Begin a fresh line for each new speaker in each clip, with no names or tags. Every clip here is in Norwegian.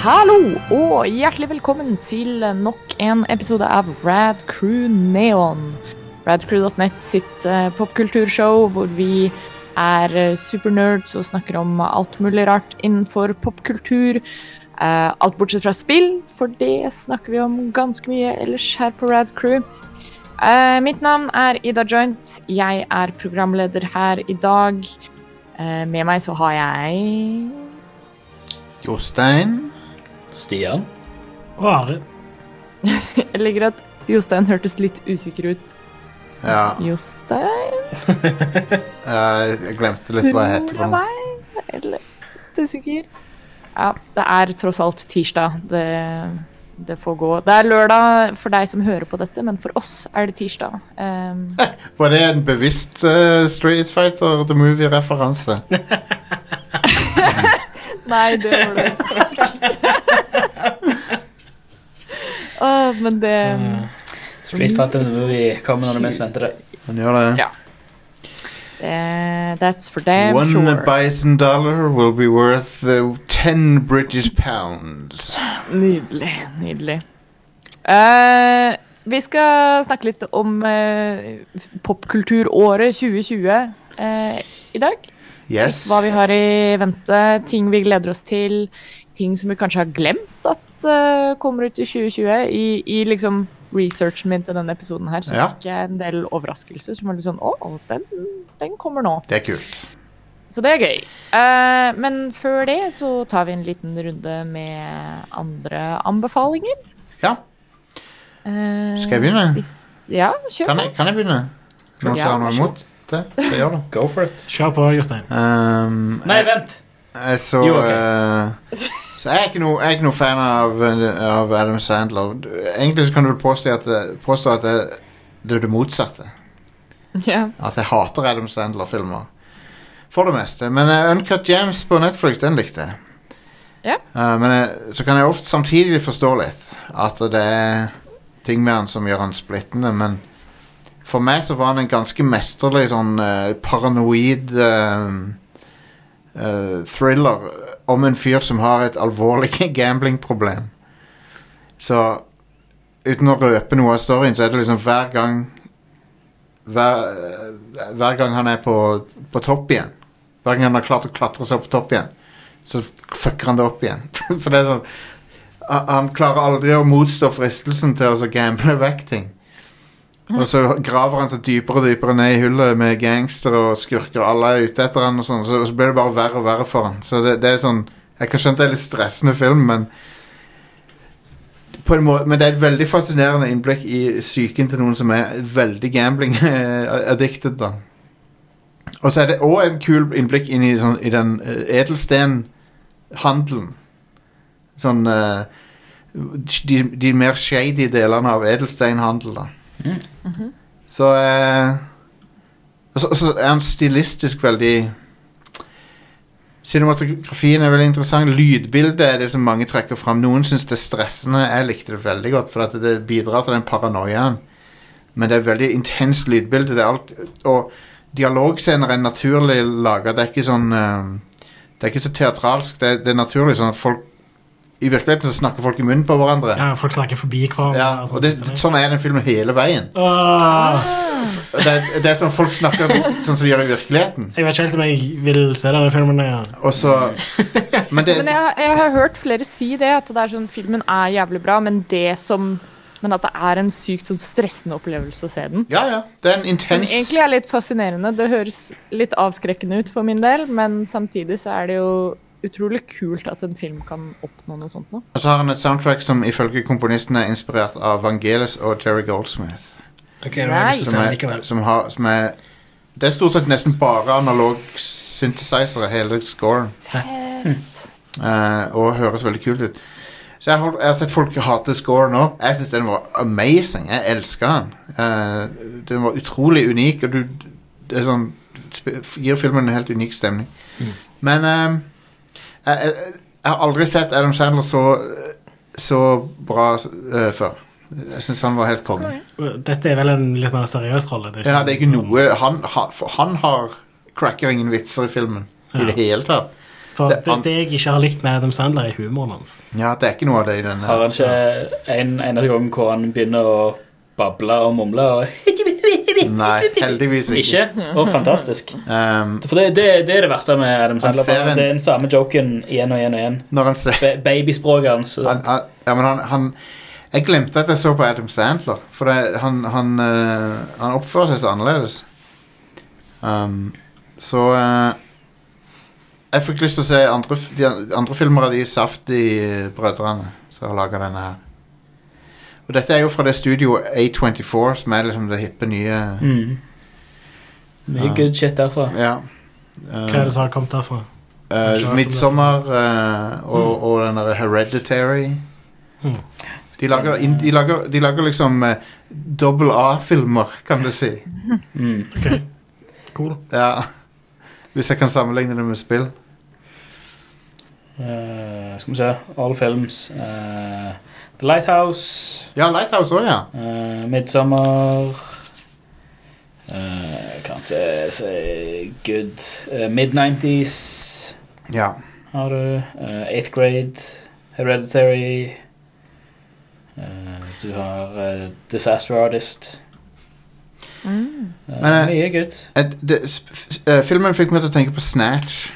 Hallo og hjertelig velkommen til nok en episode av Rad Crew Neon. Radcrew.net sitt eh, popkulturshow hvor vi er eh, supernerds og snakker om alt mulig rart innenfor popkultur. Eh, alt bortsett fra spill, for det snakker vi om ganske mye ellers her på Rad Crew. Eh, mitt navn er Ida Joint. Jeg er programleder her i dag. Eh, med meg så har jeg
Jostein.
Stian?
Og Are.
Jeg liker at Jostein hørtes litt usikker ut.
Ja,
Jostein?
eh, jeg glemte litt hva jeg heter for noe.
Nei, Eller litt usikker. Ja, det er tross alt tirsdag. Det, det får gå. Det er lørdag for deg som hører på dette, men for oss er det tirsdag. Ehm,
Var det en bevisst eh, Street Fighter The Movie-referanse?
Nei, det var det. Åh, men det
Street Fighter The Movie kommer når du minst venter det.
Han gjør det.
Ja. eh, That's for damn
One
sure.
bison dollar will be worth eh, ten British pounds.
Nydelig. Nydelig. Eh, vi skal snakke litt om eh, popkulturåret 2020 eh, i dag.
Yes.
Hva vi har i vente, ting vi gleder oss til, ting som vi kanskje har glemt at eh, kommer ut i 2020. I, i liksom researchen min til denne episoden her, så
Ja.
fikk jeg en del overraskelser som var litt sånn Å, den, den kommer nå.
Det er kult.
Så det er gøy. Eh, men før det så tar vi en liten runde med andre anbefalinger.
Ja,
Eh,
Skal jeg begynne?
hvis- Ja, kjør
kan
på.
jeg, kan jeg begynne? Noen
Ja,
som har noe
vær så
imot det? Så gjør det.
Go for it.
Kjør på, Jostein.
Um,
Nei, vent!
Jeg så
Jo, ok.
eh, Så jeg er ikke noe, jeg er ikke noe fan av, eh, av Adam Sandler. Egentlig så kan du vel påstå at, det- påstå at det, det er det motsatte.
Ja.
At jeg hater Adam Sandler-filmer. For det meste. Men eh, Uncut James på Netflix, den likte jeg.
Ja.
Eh, men jeg, så kan jeg ofte samtidig forstå litt at det er ting med han som gjør han splittende, men for meg så var han en ganske mesterlig sånn eh, paranoid eh, eh, thriller om en fyr som har et alvorlig gamblingproblem. Så uten å røpe noe av storyen, så er det liksom hver gang hver, eh, hver gang han er på, på topp igjen Hver gang han har klart å klatre seg opp på topp igjen Så fucker han det opp igjen Så det er sånn han- Han klarer aldri å motstå fristelsen til å så gamble vekk ting Og så graver han seg dypere og dypere ned i hullet Med gangster og skurker og Alle er ute etter han og sånn Så, så blir det bare verre og verre for han Så det, det er sånn Jeg kan skjønne det er litt stressende film Men på en måte, men det er et veldig fascinerende innblikk i psyken til noen som er veldig gambling-addicted, da. Og så er det òg en kul innblikk inn i, sånn, i den eh, edelstenhandelen. Sånn eh, de, de mer shady delene av edelsteinhandel, da.
Mm.
Så eh, og så, og så er han stilistisk veldig Cinematografien er veldig interessant. Lydbildet er det som mange trekker fram. Noen syns det er stressende. Jeg likte det veldig godt, for at det bidrar til den paranoiaen. Men det er veldig intenst lydbilde. Det er alt, og dialogscener er naturlig laga. Det er ikke sånn eh, Det er ikke så teatralsk. Det, er- det er naturlig sånn at folk I virkeligheten så snakker folk i munnen på hverandre.
Ja, folk snakker forbi hverandre.
Ja, og det,
sånt.
sånn er den filmen hele veien.
Åh,
Det, er- det er sånn folk snakker sånn som de gjør i virkeligheten.
jeg vet ikke helt om jeg vil se denne filmen. Ja.
Og så Men det
Men jeg, har- jeg har hørt flere si det, at det er sånn, filmen er jævlig bra, men det som men at det er en sykt sånn stressende opplevelse å se den.
Ja, ja. Det er en
Som
intens
egentlig er litt fascinerende. Det høres litt avskrekkende ut for min del, men samtidig så er det jo utrolig kult at en film kan oppnå noe sånt nå.
Og så har han et soundtrack som ifølge komponisten er inspirert av Vangelis og Terry Goldsmith.
Ok,
nå har jeg lyst
Som er, som har, som er Det er stort sett nesten bare analog synthesizer hele scoren. eh, og høres veldig kult ut. Så jeg, har- jeg har sett folk hate scoren nå. Jeg syns den var amazing. Jeg elska den. Eh, den var utrolig unik, og du det er sånn, sp- gir filmen en helt unik stemning. Men eh, jeg, jeg, jeg har aldri sett Adam Sandler så, så bra eh, før. Jeg syns han var helt konge.
Uh, Dette er vel en litt mer seriøs rolle?
Ja, det er ikke noe Han, ha, for han har cracker ingen vitser i filmen
Ja.
i det hele tatt.
For
Det-
det, det jeg ikke har likt med Adam Sandler, er humoren hans.
Ja, det er ikke noe av det i denne.
Har han ikke en eneste gang hvor han begynner å bable og mumle og
Nei, heldigvis ikke.
ikke? Og fantastisk.
Ehm,
For det, det, det er det verste med Adam Sandler.
ser en-
Det er den samme joken igjen og igjen og igjen.
når han ser
Ba- Babyspråket hans.
han, han, Ja, men han, han Jeg glemte at jeg så på Adam Sandler, for det, han, han, eh, han oppfører seg så annerledes. Ehm, så eh, Jeg fikk lyst til å se andre, f- de an- andre filmer av de Safti-brødrene som har laga denne her. Og dette er jo fra det studioet A24, som er liksom det hippe nye
Mm. Mye
Ja.
good shit derfra.
Ja.
Hva er det som har kommet derfra?
Uh, Midtsommer eh, og, og den derre Hereditary.
Mm.
De lager, in, de lager, de lager liksom eh, double A-filmer, kan du si.
Mm.
Ok, cool.
Ja. Hvis jeg kan sammenligne det med spill.
Eh, skal vi se All films. eh, The Lighthouse.
Ja, Lighthouse òg, ja.
Uh, Midsommer. Uh, kanskje se Good. eh, Mid-90s
ja.
har du. eh, eighth Grade. Hereditary. eh, du har eh, Disaster Artist.
Mm.
Eh,
Men, eh,
mye good.
Et, det, sp- f- eh, filmen fikk meg til å tenke på Snatch,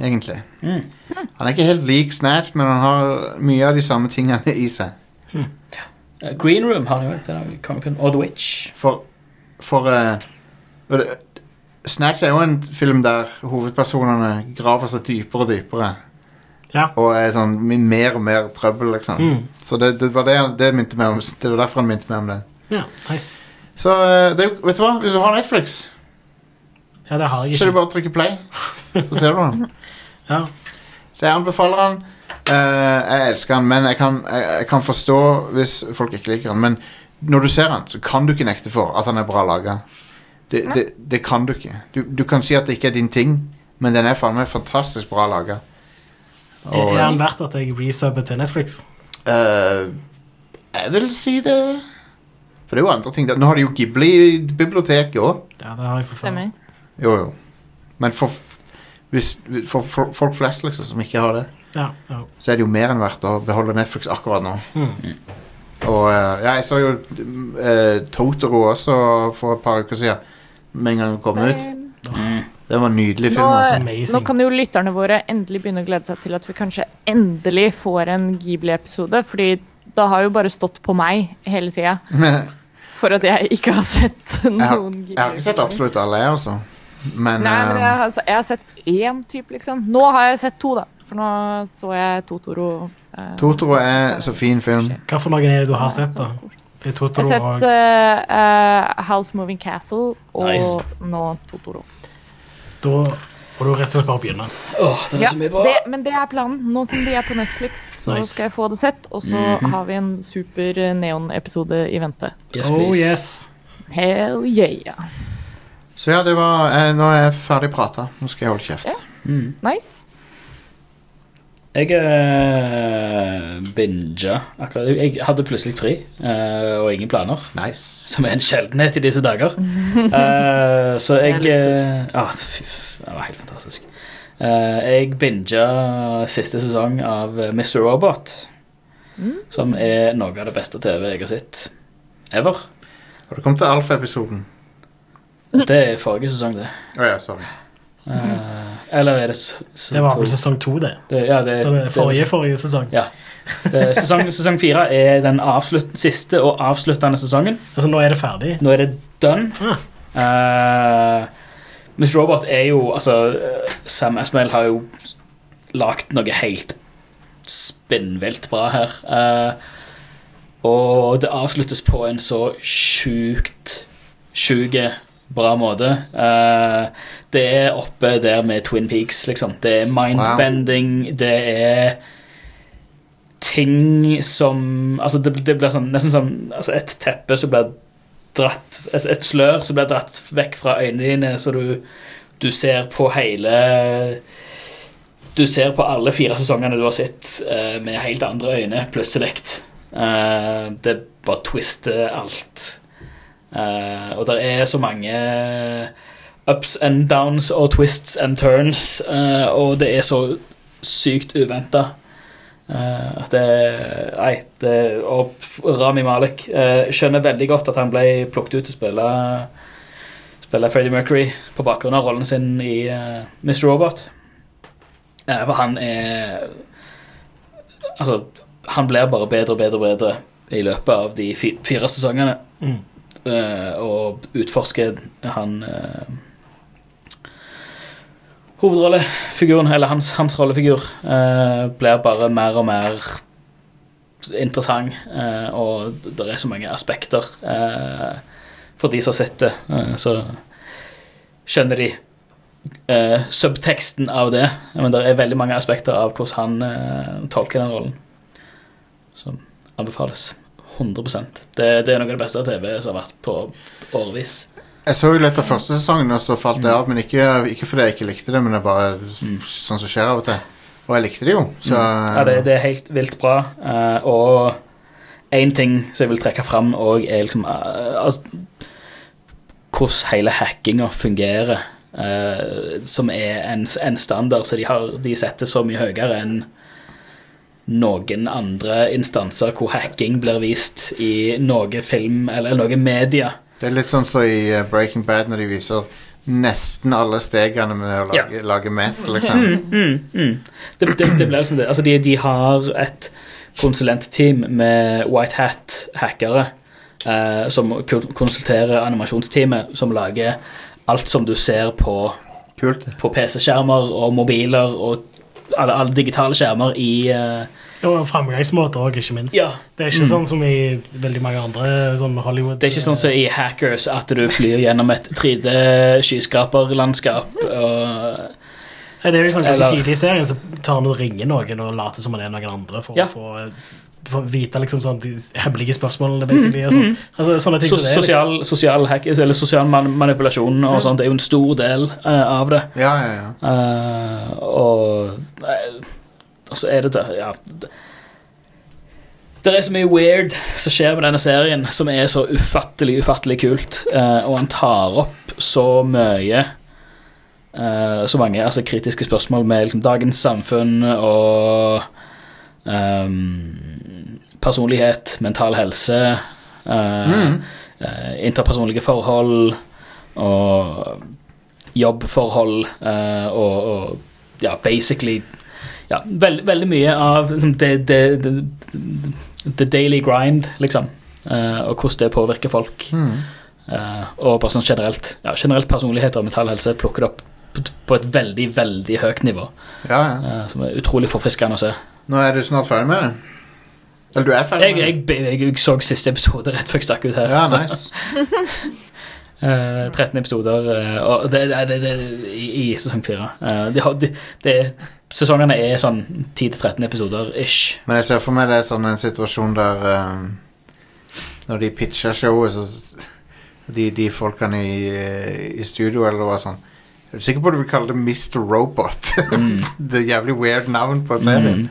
egentlig.
Mm.
Han er ikke helt lik Snatch, men han har mye av de samme tingene i seg.
Eh, Green Room har du jo. den er jo kongefilm. Og The Witch.
For, for eh, og det- Snatch er jo en film der hovedpersonene graver seg dypere og dypere.
Ja.
Og er sånn i mer og mer trøbbel, liksom.
Mm.
Så det, det var det, det, minte meg om, det var derfor han minte meg om det.
Ja, nice.
Så eh, det, er jo- vet du hva? Hvis du har Netflix,
Ja, det har jeg
så er det
ikke.
bare å trykke play, så ser du den.
Ja.
Så jeg anbefaler den. Eh, jeg elsker den, men jeg kan, jeg, jeg kan forstå hvis folk ikke liker den. Men når du ser den, så kan du ikke nekte for at den er bra laga. Det, det, det kan du ikke. Du, du kan si at det ikke er din ting, men den er faen meg fantastisk bra laga. Og
Er han verdt at jeg resubber til Netflix?
eh, Jeg vil si det For det er jo andre ting der. Nå har de jo Ghibli-biblioteket òg.
Ja, det har jeg for faen.
Stemmer.
Jo, jo. Men for, hvis, for, for folk flest, liksom, som ikke har det,
Ja, ja.
så er det jo mer enn verdt å beholde Netflix akkurat nå.
Mm.
Og eh, ja, jeg så jo eh, Totoro også for et par uker siden. Med en gang den kom ut.
Mm.
Det var en nydelig film.
Nå-
altså.
amazing.
Nå kan jo lytterne våre endelig begynne å glede seg til at vi kanskje endelig får en Ghibli-episode, fordi det har jo bare stått på meg hele tida
Jeg
for at jeg ikke har sett noen
har,
Ghibli.
jeg har ikke sett absolutt alle, jeg, altså. Men,
Nei, men
eh,
jeg har, jeg har sett én type, liksom. Nå har jeg sett to, da. For nå så jeg Totoro. eh,
Totoro er så fin film.
Hva for noen er det du har sett, da? Det er
Jeg
Totoro
har
og
sett eh, eh, House Moving Castle og
Nice.
nå Totoro. eh,
Da må du rett og slett bare begynne.
Åh, den er så mye bra.
det, men det er planen. Nå som de er på Netflix, så
Nice.
skal jeg få det sett. Og så
Mhm.
har vi en super eh, neon-episode i vente.
Yes,
oh
please.
yes.
Hell yeah.
Så ja, det var eh, Nå er jeg ferdig prata. Nå skal jeg holde kjeft.
Ja.
Mm.
Nice.
Jeg uh, binga akkurat. Jeg hadde plutselig fri eh, og ingen planer,
Nice.
som er en sjeldenhet i disse dager. Eh, så jeg
Det er
eh, ah, fy f- Det var helt fantastisk. Eh, jeg binga siste sesong av Mr. Robot,
Mm.
som er noe av det beste TV jeg har sett ever.
Har du kommet til Alf-episoden?
Det er forrige sesong, det.
Å ja, sorry.
Eh, eller er det s- s-
Det var
to-
vel sesong to, det.
det, ja, det,
Så det er forrige, forrige sesong.
Ja. Eh, Sesong, sesong fire er den avslutt, siste og avsluttende sesongen.
Altså, nå er det ferdig.
Nå er det done.
Ja.
Eh, Mr. Robot er jo Altså, eh, Sam Asmael har jo lagd noe helt spinnvilt bra her. Eh, og det avsluttes på en så sjukt sjuke bra måte. Eh, det er oppe der med Twin Peaks, liksom. Det er mindbending, det er ting som Altså, det, det blir sånn, nesten sånn altså et teppe som blir dratt et, et slør som blir dratt vekk fra øynene dine, så du, du ser på hele Du ser på alle fire sesongene du har sett, eh, med helt andre øyne plutselig. Eh, det bare twister alt. Eh, og det er så mange ups and downs og twists and turns, eh, og det er så sykt uventa. Eh, at det Nei, det Og Rami Malik eh, skjønner veldig godt at han ble plukket ut til å spille Spille Freddie Mercury på bakgrunn av rollen sin i eh, Mr. Robot. Eh, for han er Altså, han blir bare bedre og bedre og bedre i løpet av de fi- fire sesongene.
Mm.
Eh, og utforsker han eh, hovedrollefiguren, eller hans, hans rollefigur, eh, blir bare mer og mer interessant, eh, og det er så mange aspekter eh, for de som har sett det, eh, så skjønner de eh, subteksten av det, men det er veldig mange aspekter av hvordan han eh, tolker den rollen, som anbefales 100%. Det, det er noe av det beste TV som har vært på årevis.
Jeg så jo litt av første sesongen, og så falt jeg av.
Mm.
Men ikke, ikke fordi jeg ikke likte det, men det er bare sånn som skjer av og til. Og jeg likte det jo, så
Mm. Ja, det, det er helt vilt bra. eh, og én ting som jeg vil trekke fram òg, er liksom eh, altså, hvordan hele hackinga fungerer. eh, som er en, en standard så de, har, de setter så mye høyere enn noen andre instanser hvor hacking blir vist i noe film eller noe media.
Det er litt sånn som i eh, Breaking Bad, når de viser nesten alle stegene med å lage, lage meth, liksom.
Mm, mm. Det, det, det blir liksom det. Altså, de, de har et konsulentteam med White Hat-hackere eh, som ko- konsulterer animasjonsteamet, som lager alt som du ser på,
Kult.
på PC-skjermer og mobiler og alle, alle digitale skjermer i eh,
Og framgangsmåter òg, ikke minst.
Ja.
Det er ikke sånn som i veldig mange andre sånn Hollywood.
Mm. Det er ikke sånn som i Hackers at du flyr gjennom et 3D-skyskraperlandskap. og-
Nei, det er jo sånn ganske
Eller-
Tidlig i serien så tar han og ringer noen og later som han er noen andre for
Ja.
å få for å vite liksom sånn de hemmelige spørsmålene, basically. Og sånn. altså, sånne
Mm,
ting
So
som det er. Liksom.
sosial, sosial, hack, eller sosial man manipulasjon og sånt er jo en stor del eh, av det.
Ja, ja, ja.
Eh, og nei, Og så er det det ja. Det er så mye weird som skjer med denne serien, som er så ufattelig, ufattelig kult. eh, og han tar opp så mye eh, Så mange altså, kritiske spørsmål med liksom, dagens samfunn og ehm, Personlighet, mental helse eh,
Mm.
eh, interpersonlige forhold og jobbforhold eh, og, og ja, basically ja, veld, Veldig mye av liksom, det, det, det, the daily grind, liksom. eh, og hvordan det påvirker folk.
Mm.
eh, og bare sånn generelt ja, generelt personlighet og mental helse plukker det opp på, på et veldig, veldig høyt nivå.
ja, ja.
eh, som er utrolig forfriskende å se.
Nå er du snart ferdig med det. Eller du er ferdig
Jeg, jeg, jeg, jeg så siste episode rett før jeg stakk ut her.
Ja,
så-
nice.
Eh, 13 episoder, eh, og det, det, det, det i, i sesong 4. de har, de, det er- sesongene er sånn 10-13 episoder ish.
Men jeg ser for meg det er sånn en situasjon der ehm, Når de pitcher showet, så s- De, de folkene i, eh, i studio eller hva sånn Er du sikker på at du vil kalle det Mr. Robot?
Mm.
det er jævlig weird navn på serien.
Mm.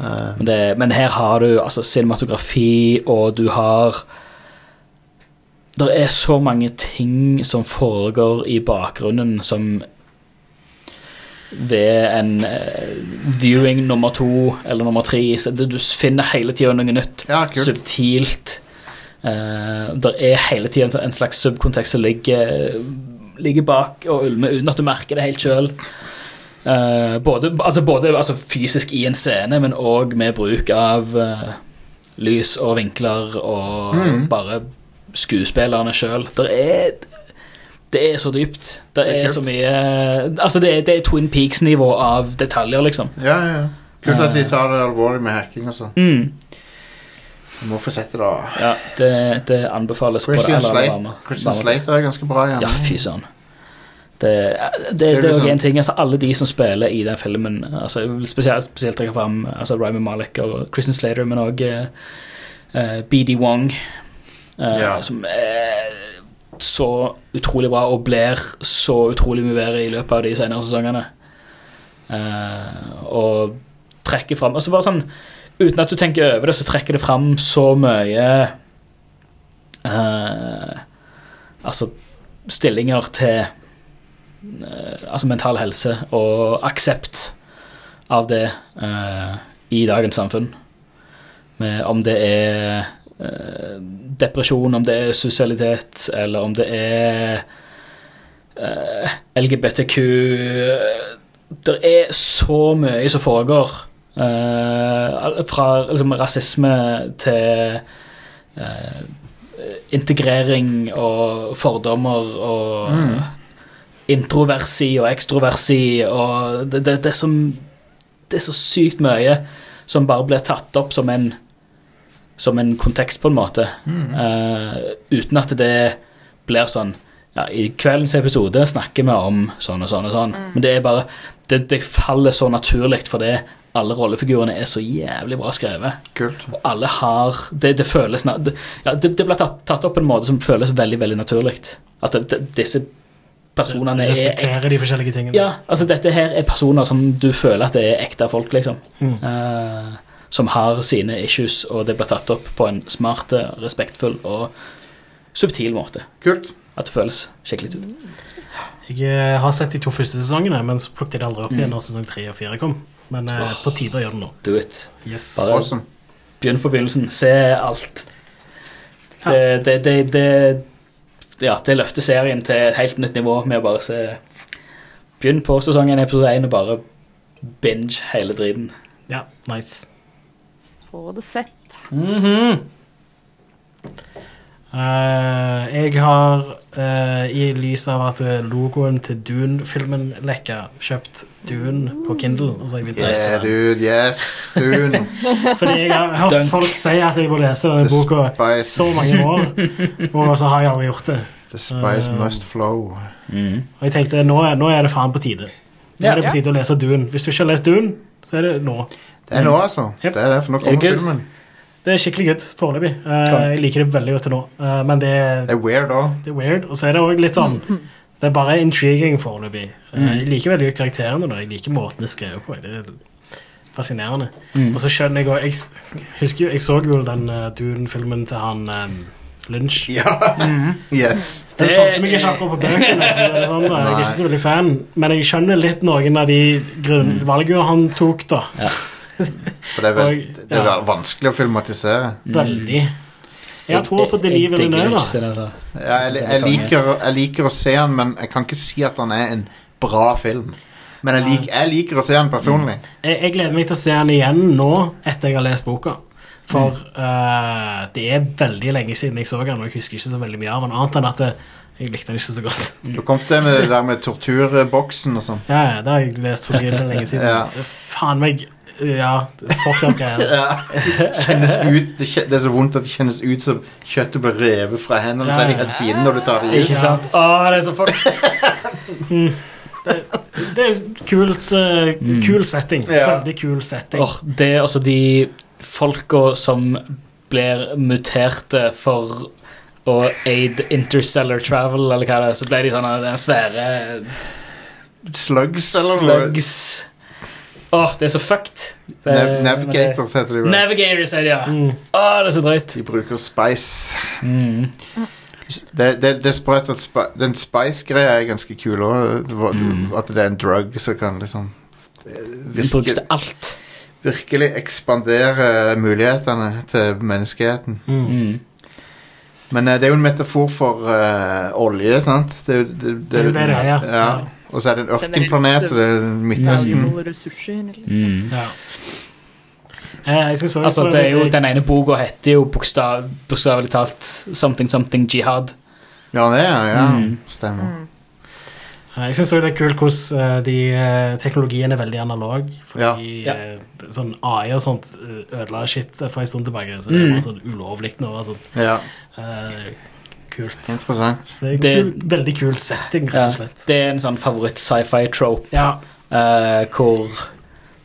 Eh,
Men, det, men her har du altså cinematografi, og du har Det er så mange ting som foregår i bakgrunnen som ved en eh, viewing nummer to eller nummer tre så det, Du finner hele tida noe nytt.
ja, kult.
subtilt. det er hele tiden en slags subkontekst som ligger, ligger bak og ulmer uten at du merker det helt sjøl. både altså både altså fysisk i en scene, men òg med bruk av eh, lys og vinkler og
Mm.
bare skuespillerne sjøl. Det er det er så dypt. Det
Det er
er så mye Altså, det er, det er Twin Peaks-nivå av detaljer, liksom.
Ja, ja, ja. Kult at de
Eh.
tar det alvorlig med hacking, altså.
Mm.
Du må få sett det, da.
Ja, det, det anbefales på det
Christian
aller, aller
Slate,
varme.
Christian
varme-
Slater er ganske bra igjen.
Ja, fy søren. Det, det,
er
det, er
liksom-
jo en ting, altså Alle de som spiller i den filmen, altså, jeg vil spesielt, spesielt trekke fram altså, Ryman Malik og Christian Slater, men eh, òg BD Wong, eh,
Ja.
som er så utrolig bra og blir så utrolig mye bedre i løpet av de senere sesongene. Eh, og trekker fram altså bare sånn, Uten at du tenker over det, så trekker det fram så mye eh, Altså stillinger til eh, altså mental helse og aksept av det eh, i dagens samfunn. Med, om det er eh, depresjon, om det er sosialitet, eller om det er eh, LGBTQ Det eh, er så mye som foregår. eh, fra liksom, rasisme til eh, integrering og fordommer og introversi og ekstroversi og det, det, det, er så, det er så sykt mye som bare blir tatt opp som en som en kontekst, på en måte. Eh, uten at det blir sånn ja, I kveldens episode snakker vi om sånn og sånn og sånn. Men det er bare Det, det faller så naturlig fordi alle rollefigurene er så jævlig bra skrevet.
Kult.
Og alle har Det, det føles na- det, ja, det, det ble tatt, tatt opp på en måte som føles veldig veldig naturlig. At det, det, disse personene er ek-
Respekterer de forskjellige tingene.
Ja, altså dette her er personer som du føler at det er ekte folk, liksom.
Mm.
Eh, som har sine issues, og det blir tatt opp på en smart, respektfull og subtil måte.
Kult.
At det føles skikkelig ut.
Jeg eh, har sett de to første sesongene, men så plukket jeg det aldri opp igjen
Mm.
når sesong tre og fire kom. Men eh,
Åh.
på tide å gjøre det nå.
Do it.
Yes.
Bare
Awesome.
begynn på begynnelsen. Se alt. Det, det, det, det Ja, det løfter serien til et helt nytt nivå med å bare se Begynn på sesongen episode 1 og bare binge hele driten.
Ja, nice.
Få det sett.
Mhm. Eh, jeg har, eh, i lys av at eh, logoen til Dune-filmen lekker, kjøpt Dune på Kindle. Og så har jeg begynt å lese
Yeah,
den.
dude. Yes, dude.
Fordi jeg har hørt
Dunk.
folk si at jeg må lese denne
The
boka
spice,
så mange år, og så har jeg aldri gjort det.
the
Eh.
spice must flow.
Mm.
Og jeg tenkte, nå er, nå er det faen på tide. Nå
Ja.
er det på tide å lese Dune. Hvis du ikke har lest Dune, så er det nå.
Det er nå, altså.
Yep.
Det er det, for nå
Er Mm. det
kommer
good?
filmen.
Det er skikkelig good foreløpig. Eh,
Kom.
jeg liker det veldig godt til nå, Eh, men det,
Det er weird òg.
det er weird. Og så er det også litt sånn Det er bare intriguing foreløpig. Eh,
Mm.
jeg liker veldig godt karakterene, da. jeg liker måten det er skrevet på. Det er fascinerende.
Mm.
Og så skjønner jeg òg Jeg s- husker jo, jeg så jo den eh, Dune-filmen til han um, Lynch.
Ja.
Mm-hmm.
Yes.
Den
Det
solgte meg ikke
er-
akkurat på bøkene. for å si det Sånn, da. jeg er ikke
Nei.
så veldig fan, men jeg skjønner litt noen av de grunn
Mm.
valgene han tok. da.
For det er, vel,
Og-
det er
ja.
vel vanskelig å filmatisere.
Veldig. Jeg har tro på Denis
Mm. Jeg- jeg digger
Villeneuve.
ikke
da.
den, altså.
Ja, jeg,
synes det er
jeg,
konge.
liker, jeg liker å se den, men jeg kan ikke si at den er en bra film. Men jeg, lik, jeg liker å se den personlig.
Jeg, jeg gleder meg til å se han igjen nå etter jeg har lest boka. For eh, det er veldig lenge siden jeg så han, og jeg husker ikke så veldig mye av han, annet enn at det, jeg likte han ikke så godt.
Mm.
Du kom til med det der med torturboksen og sånn.
Ja, ja, Det har jeg lest for mye for lenge siden.
Ja.
Faen meg eh, Ja, fuck den greia.
Ja. Det Kjennes ut, det, kje- det er så vondt at det kjennes ut som kjøttet blir revet fra hendene. Så er de helt fine når du tar det ut.
Ikke sant? Å, det er så fucked.
Det er kult, eh, kul setting.
Mm. Ja.
Veldig kul setting.
Åh, det er altså de folka som blir muterte for å aid interstellar travel, eller hva det er. Så ble de sånne den svære
Slugs, eller noe.
Slugs. Åh, det er så fucked. Eh, Det,
Nav Navigators heter de vel.
Navigators, er det, ja.
Mm.
Åh, det er så drøyt.
De bruker spice.
Mm.
Det, det, det er sprøtt at spi, den spice-greia er ganske kul òg.
Mm.
At det er en drug som kan liksom eh,
Den brukes
virke,
til alt.
virkelig ekspandere eh, mulighetene til menneskeheten.
Mm.
Mm.
Men eh, det er jo en metafor for eh, olje, sant? Det, er jo- det, det,
Det er jo det det er, ja.
ja. Og så er det en
Den er
ørkenplanet, så det er Midtøsten.
Valuable ressurser. Liksom.
Ja. Eh, jeg skal så
Altså, det er jo, den ene boka heter jo bokstav, bokstavelig talt Something Something Jihad.
Ja, det er ja.
Mm.
Stemmer.
Ja, Eh, Jeg synes også det er kult hvordan eh, de, eh, teknologien er veldig analog. Fordi
Ja.
eh, sånn AI og sånt eh, ødela shit for en stund tilbake. Så
Mm.
det er bare sånn ulovlig nå. og Sånn.
Ja,
eh, kult.
interessant.
Det er en
Det-
kul, veldig kul setting,
Ja.
rett og slett.
Det er en sånn favoritt-sci-fi-trope
Ja.
eh, hvor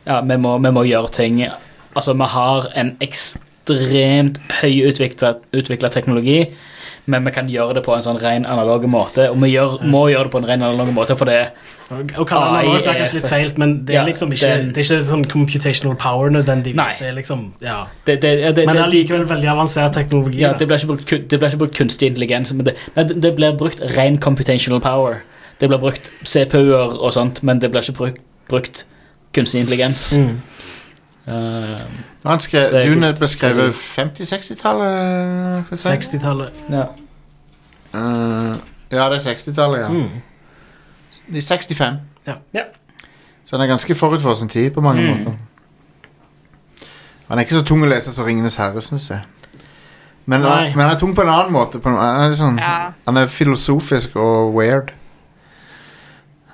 ja, vi, må, vi må gjøre ting Altså, vi har en ekstremt høyutvikla teknologi, men vi kan gjøre det på en sånn ren analog måte, og vi gjør, må gjøre det på en ren analog måte, for det er
Og, og kalle det
AI
analog er
er
kanskje litt feil, men det er
Ja,
liksom ikke,
den-
det er ikke sånn computational power nødvendigvis.
Nei.
Det er liksom, ja.
det, det, ja, det,
Men det
det,
er likevel veldig avansert teknologi.
ja,
da.
det blir ikke, brukt kun- det blir ikke brukt kunstig intelligens, men det, nei, det- det blir brukt ren computational power. Det blir brukt CPU-er og sånt, men det blir ikke brukt, brukt kunstig intelligens.
Mm.
Eh,
Nå har han skrevet-
Det er
Dune
kult.
beskrevet 50-60-tallet? eh, for å si.
60-tallet.
ja.
Eh, ja, det er 60-tallet, ja.
Mm.
I 65.
Ja.
Ja.
Så han er ganske forut for sin tid på mange
Mm.
måter. Han er ikke så tung å lese som Ringenes herre, syns jeg. Men, han,
Nei.
men han er tung på en annen måte. På en, han, er litt sånn-
Ja.
han er filosofisk og weird.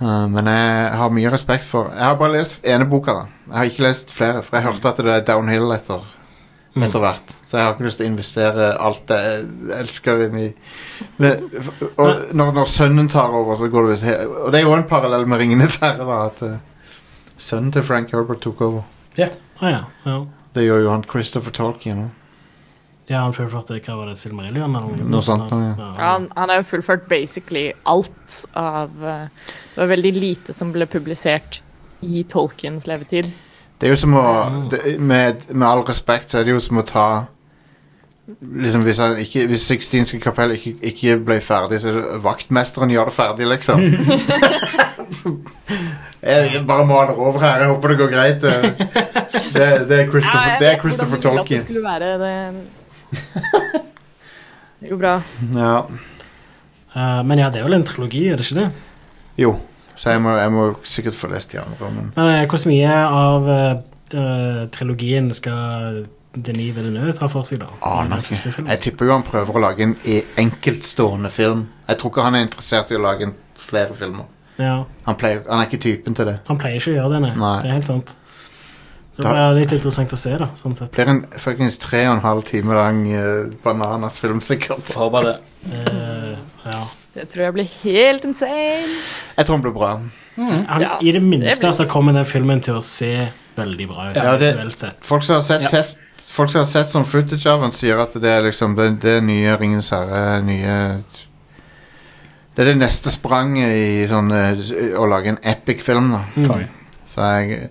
Eh, men jeg har mye respekt for Jeg har bare lest ene boka. da Jeg har ikke lest flere, for jeg hørte at det er downhill etter
Mm.
Etter hvert. Så jeg har ikke lyst til å investere alt jeg elsker inn i Men- Og når, når sønnen tar over, så går det visst he- Og det er jo en parallell med 'Ringenes herre', da. At eh, sønnen til Frank Herbert tok over.
Å ja. ja.
Det gjør jo han Christopher Tolkien òg.
Ja, han fullførte eh, hva var det, Silmarillion? eller
Noe sånt, ja.
Han, han har jo fullført basically alt av eh, Det var veldig lite som ble publisert i Tolkiens levetid.
Det er jo som å
Mm.
det, med, med all respekt så er det jo som å ta Liksom Hvis, han ikke, hvis Sixtinske kapell ikke, ikke ble ferdig, så er det vaktmesteren gjør det ferdig, liksom. jeg bare maler over her. Jeg håper det går greit. Det, det, det er Christopher,
Ah, Ja, jeg
det
vet
er
hvordan du ville
Christopher
at Det
Tolkien.
skulle være det Det går bra.
Ja.
Eh, men ja, det er vel en trilogi, er det ikke det?
Jo, så jeg må, jeg må sikkert få lest de andre. Men
Men eh, hvor mye av eh, eh, trilogien skal Denis Villeneuve ta for seg, da?
Aner
Den
ikke.
første filmen.
Ah, jeg tipper jo han prøver å lage en e- enkeltstående film. Jeg tror ikke han er interessert i å lage en, flere filmer.
Ja,
Han, pleier, han er ikke typen til det.
han pleier ikke å gjøre det, nei.
Nei.
Det er helt sant. Det
Da-
blir litt interessant å se, da. sånn sett.
Det er en fuckings tre og en halv time lang eh, Bananas-film, sikkert.
Får håpe det.
Eh, ja.
Det tror jeg blir helt insane.
Jeg tror den blir bra.
han,
Ja,
I det minste
blir-
så kommer den filmen til å se veldig bra ut.
Ja, det-
visuelt sett.
Folk som har sett
Ja.
test Folk som har sett sånn footage av den, sier at det er liksom det, det er nye Ringenes herre, nye Det er det neste spranget i sånn eh, å lage en epic film, da.
Mm.
Så jeg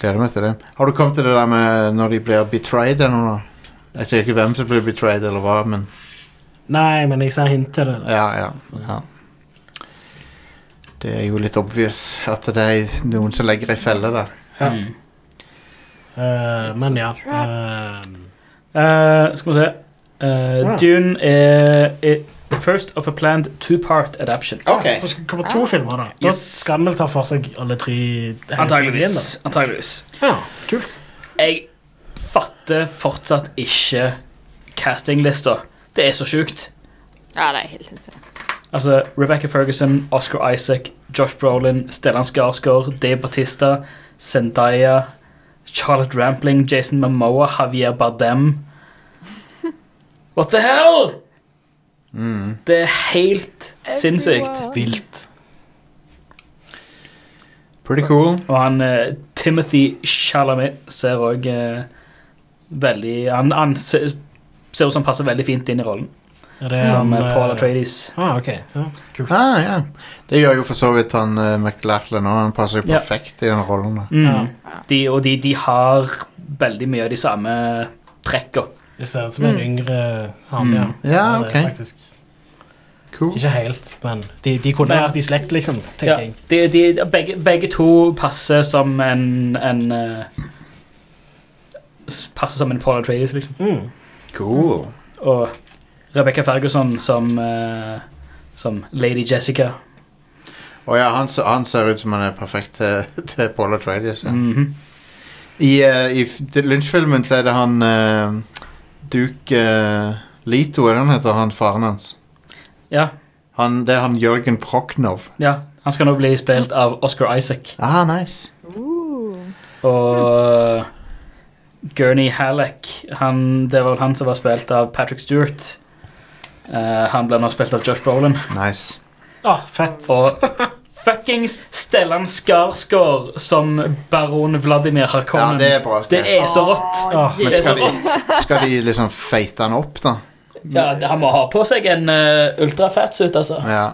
gleder meg til det. Har du kommet til det der med når de blir betrayed eller noe? Jeg sier ikke hvem som blir betrayed eller hva, men
Nei, men jeg ser hint til det.
Ja, ja, ja. Det er jo litt obvious at det er noen som legger ei felle der.
Ja.
Mm.
Eh, men ja. eh,
Eh, skal vi se. Eh,
Ja.
Dune er er the first of a planned two-part adaption.
Så skal det komme to filmer, da. Da
Yes.
skal den vel ta for seg alle tre hele trilogien, da.
Antageligvis. Antageligvis.
Ja, kult.
Jeg fatter fortsatt ikke castinglista. Det er så sjukt.
Ja, det er helt insane.
Altså, Rebecca Ferguson, Oscar Isaac, Josh Brolin, Stellan Skarsgård, Dave Batista, Zendaya, Charlotte Rampling, Jason Momoa, Javier Bardem What the hell?!
Mm.
Det er helt sinnssykt.
Vilt.
Pretty cool.
Og han eh, Timothy Chalamet ser òg veldig Han, han ser, ser ut som han passer veldig fint inn i rollen,
Er det
som
han,
eh,
eh,
Paul Atreides.
Ah, ok. Ja, kult.
Ah, ja. Det gjør jo for så vidt han uh, McLachlan òg. Han passer jo
Ja.
perfekt i den rollen. da.
Mm.
Ja.
De, og de, de har veldig mye av de samme trekka.
Det ser ut som en
Mm.
yngre han,
Mm.
ja.
Ja,
det er
ok.
faktisk.
Cool.
Ikke helt, men de, de kunne
Men-
vært i slekt, liksom, tenker
Ja.
jeg.
De, de, begge, begge to passer som en, en eh, s- Passer som en Paul Atreides, liksom.
Mm.
cool.
Og Rebecca Ferguson som, eh, som Lady Jessica.
Og ja, han, se- han ser ut som han er perfekt til, til Paul Atreides. Ja.
Mhm.
I, eh, i f- til Lynch-filmen så er det han eh, Duke eh, Lito, er det han heter? Han faren hans.
Ja,
Han, det er han Jørgen Proknov.
ja. Han skal nå bli spilt av Oscar Isaac.
Ah, nice.
Uh.
Og eh, Gurney Halleck han, Det var vel han som var spilt av Patrick Stewart. Eh, han ble nå spilt av Josh Brolin.
Nice.
Ah, fett.
Og fuckings Stellan Skarsgård som baron Vladimir
Ja,
Harkonnen.
det er bra.
Det er så rått!
Ah,
Men
Det er så
skal de, skal de liksom feite han opp, da?
Ja, det- Han må ha på seg en uh, ultrafatsuit, altså.
Ja.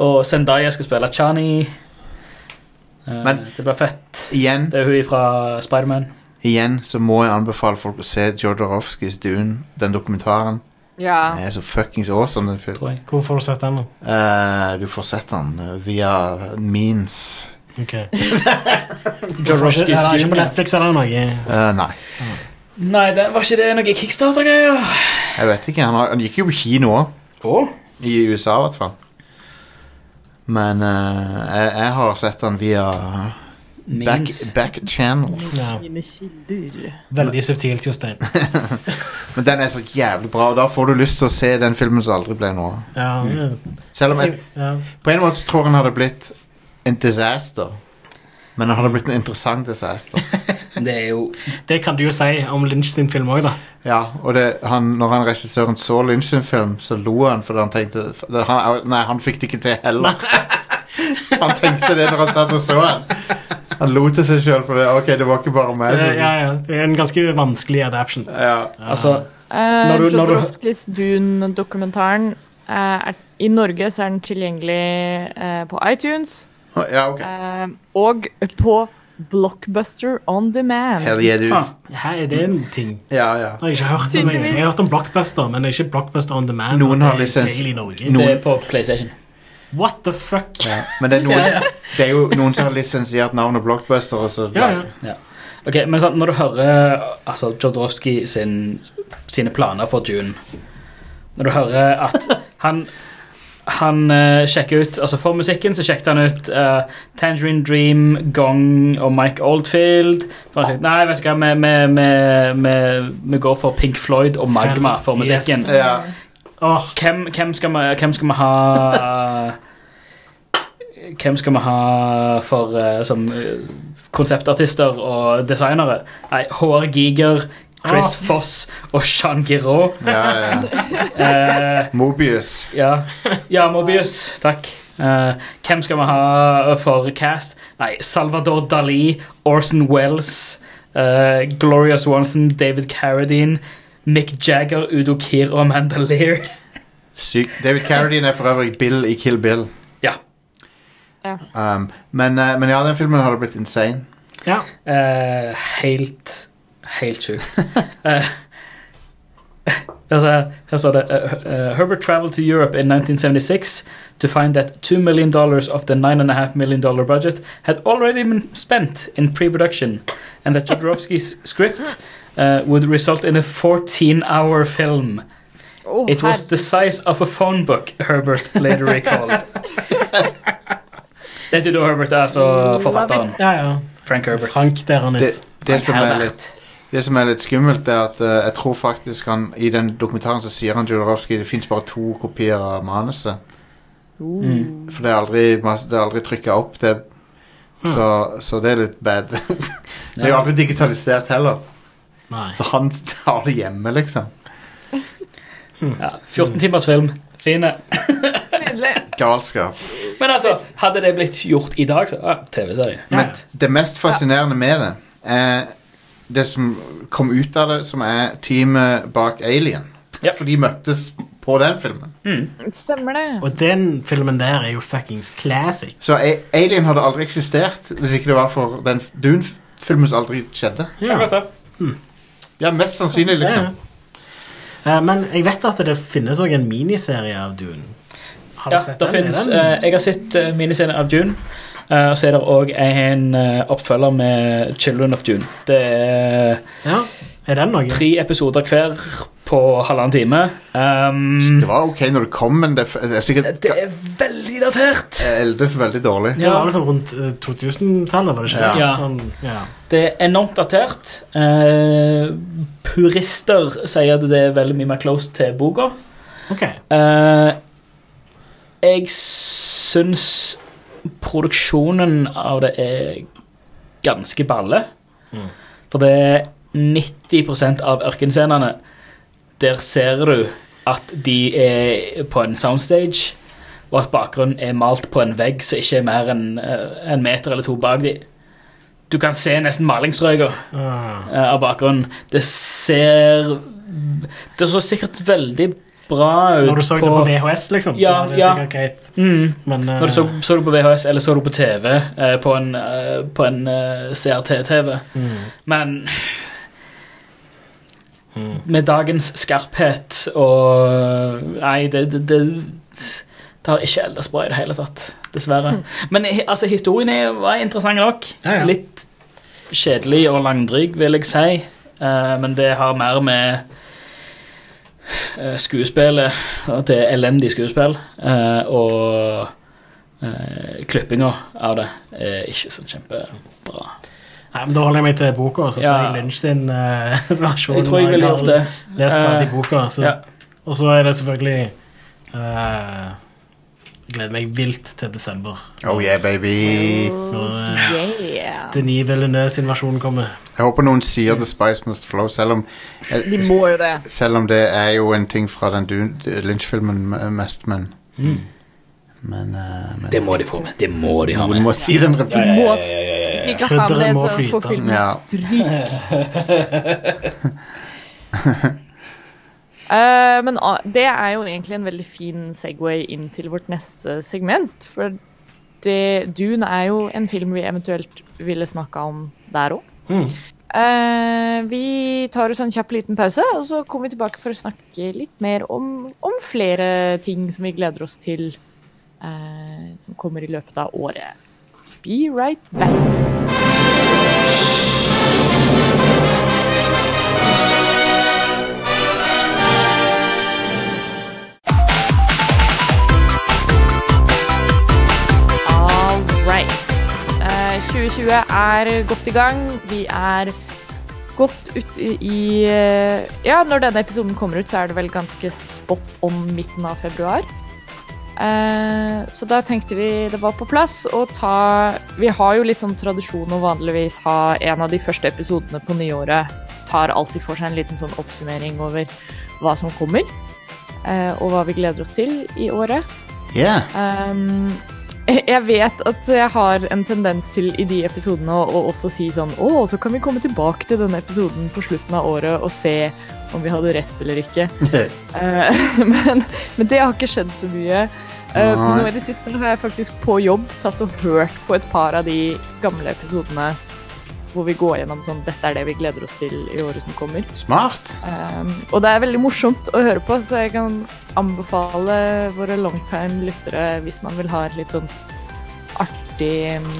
Og Zendaya skal spille Chani. Eh,
Men-
det blir fett.
Igjen,
Det er hun fra Spiderman.
igjen så må jeg anbefale folk å se Jodorowskys Dune, den dokumentaren.
Ja.
Den er så fuckings awesome, den filmen.
tror jeg.
Hvor får du sett den? da?
Eh, du får sett den eh, via means.
Ok.
John Rush
Er det
Disney
ikke på
Junior.
Netflix eller noe?
Eh, nei,
Nei, det, var ikke det noe Kickstarter-greier?
jeg vet ikke. Han, har- han gikk jo på kino òg.
Oh.
I USA, i hvert fall. Men eh, jeg, jeg har sett han via back, back channels.
Ja.
Mine kilder.
Veldig subtilt, Jostein.
Men den er så jævlig bra, og da får du lyst til å se den filmen som aldri ble noe. av.
Ja.
Selv om jeg
Ja.
på en måte tror han hadde blitt en disaster. Men han hadde blitt en interessant disaster.
Det er jo
Det kan du jo si om Lynch sin film òg, da.
Ja, og det, han, når han regissøren så Lynch sin film, så lo han fordi han tenkte det, han, Nei, han fikk det ikke til heller. han tenkte det når han satt og så han. Han lo til seg sjøl for det. Ok, det var ikke bare meg.
Det,
som-
ja, ja. det er en ganske vanskelig adaption.
Ja.
Ah.
Altså,
Eh,
du- når du-
Jodorowskys Dune-dokumentaren eh, er- I Norge så er den tilgjengelig eh, på iTunes
ja, ok.
eh, og på Blockbuster On Demand. Eh,
Hell yeah, du.
faen.
Hæ, er det en ting?
Ja, ja.
Det har jeg ikke hørt om. Jeg,
Tydeligvis.
jeg har hørt om Blockbuster, men det er ikke Blockbuster on demand.
Noen
Det er
har lisens.
tilgjengelig i Norge.
Noen-
Det er på PlayStation.
What the fuck?
Ja. Men det er, noen, det er jo noen som har lisensiert navnet Blockbuster. Og så,
Ja, ja.
Ok, men sant, Når du hører altså, Jodorowsky sin, sine planer for June Når du hører at han han eh, sjekker ut altså For musikken så sjekket han ut eh, Tangerine Dream, Gong og Mike Oldfield. For han sjekket, nei, vet du hva, vi, vi, vi, vi, vi går for Pink Floyd og Magma for
Yes.
musikken.
Ja.
Åh,
Hvem, hvem, skal vi, hvem skal vi ha eh, Hvem skal vi ha for, eh, som eh, konseptartister og designere? Nei, HR Giger, Chris
Ah.
Foss og Jean Giraud.
Ja, ja, ja.
Eh,
Mobius.
ja. ja, Mobius. Takk. Eh, hvem skal vi ha for cast? Nei, Salvador Dali, Orson Wells, eh, Gloria Swanson, David Carradine, Mick Jagger, Udo Kier og Amanda Lear.
Syk. David Carradine er for øvrig Bill i Kill Bill.
Ja.
Ja.
Um, men, eh, men ja, den filmen hadde blitt insane.
ja.
Eh, helt Helt sjukt. Eh, altså, her står det eh, eh, Herbert traveled to Europe in 1976 to find that two million dollars of the nine and a half million dollar budget had already been spent in pre-production, and that Jodorowsky's script eh, would result in a 14-hour film.
Å,
It was the size of a phone book, Herbert later recalled. Vet du da, Herbert, er altså forfatteren.
ja, ja.
Frank Herbert.
Frank der han er.
Det, det,
Frank
som er
Herbert.
litt, det som er litt skummelt, er at eh, jeg tror faktisk han i den dokumentaren så sier han Jodorowsky det fins bare to kopier av manuset.
Mm.
For det er aldri, masse- det er aldri trykka opp, det. Så, så det er litt bad. Det er jo
Ja.
aldri digitalisert heller.
Nei.
Så han har det hjemme, liksom.
Ja, 14 timers film. Fine.
Nydelig.
Galskap.
Men altså, hadde det blitt gjort i dag, så ah, TV-serie.
Ja.
Men det mest fascinerende med det er det som kom ut av det, som er teamet bak Alien.
Ja.
For de møttes på den filmen.
Mm.
Stemmer det.
Og den filmen der er jo fuckings classic.
Så A- Alien hadde aldri eksistert hvis ikke det var for den f- Dune-filmen som aldri skjedde.
Ja. godt da.
Ja, mest sannsynlig,
Ja,
liksom.
ja. Eh, Men jeg vet at det finnes òg en miniserie av Dune. Har
Ja, det finnes, eh, jeg har sett eh, miniserien av Dune. eh, og så er det òg en eh, oppfølger med Children of Dune. Det er
ja. Er den noe?
tre episoder hver på halvannen time. Um,
Det var ok når det kom, men det, f- det er sikkert
det er veldig datert!
eldes veldig dårlig.
Det var vel sånn rundt eh, 2000-tallet, var det ikke?
Ja.
Sånn, ja.
Det er enormt datert. Eh, purister sier at det er veldig mye mer close til boka.
Ok.
Eh, jeg syns produksjonen av det er ganske balle.
Mm.
For det er 90 av ørkenscenene. Der ser du at de er på en soundstage, og at bakgrunnen er malt på en vegg som ikke er mer enn eh, en meter eller to bak de. Du kan se nesten malingsstrøka
Ah.
eh, av bakgrunnen. Det ser Det så sikkert veldig bra ut
Når du så det på VHS, liksom, så
Ja,
var det
ja.
sikkert greit.
Mm.
Men eh,
Når du så, så du på VHS, eller så du på TV, eh, på en, eh, på en eh, CRT-TV.
mm,
Men
mm.
med dagens skarphet og Nei, det, det, det Det har ikke eldes bra i det hele tatt, dessverre. Men hi- altså, historien er, var interessant nok.
Hm. Ja, ja.
Litt kjedelig og langdryg, vil jeg si. Eh, men det har mer med eh, skuespillet At det er elendig skuespill. eh, og uh, klippinga av det er ikke sånn kjempebra.
Nei, men Da holder jeg meg til boka, og så
Ja.
sier jeg Lynch sin eh, versjon.
Jeg tror jeg ville
har
gjort det.
Lest ferdig
Eh,
boka. Så,
ja.
Og så er det selvfølgelig eh, Jeg gleder meg vilt til desember.
Oh yeah, baby.
Oh, yeah.
Denis Villeneuve sin versjon kommer.
Jeg håper noen sier The Spice Must Flow, selv om
De må jo det.
Selv om det er jo en ting fra den Dune- Lynch-filmen m- mest, men
Mm.
Men, eh, men
Det må de få med. Det må de ha
Du
med.
må si den replikken.
Må,
ja,
Hvis de ikke har med
Krydderet
det,
må
så får
flyte.
filmen
Ja.
stryk. Eh, men ah, det er jo egentlig en veldig fin Segway inn til vårt neste segment. For det, Dune er jo en film vi eventuelt ville snakka om der òg.
Mm.
vi tar oss en kjapp liten pause, og så kommer vi tilbake for å snakke litt mer om, om flere ting som vi gleder oss til eh, som kommer i løpet av året. Be right back. All right. Eh, 2020 er godt i gang. Vi er godt ut i i, eh, Ja, når denne episoden kommer ut, så er det vel ganske spot on midten av februar. Eh, så da tenkte vi det var på plass å ta Vi har jo litt sånn tradisjon å vanligvis ha en av de første episodene på nyåret. Tar alltid for seg en liten sånn oppsummering over hva som kommer, eh, og hva vi gleder oss til i året.
Yeah.
Um, jeg vet at jeg har en tendens til i de episodene å, å også si sånn Å, så kan vi komme tilbake til denne episoden på slutten av året og se om vi hadde rett eller ikke. Eh, men, men det har ikke skjedd så mye. Eh,
Nei.
nå i det siste har jeg faktisk på jobb tatt og hørt på et par av de gamle episodene hvor vi går gjennom sånn Dette er det vi gleder oss til i året som kommer.
Smart.
Um, og det er veldig morsomt å høre på, så jeg kan anbefale våre longtime-lyttere hvis man vil ha et litt sånn artig um,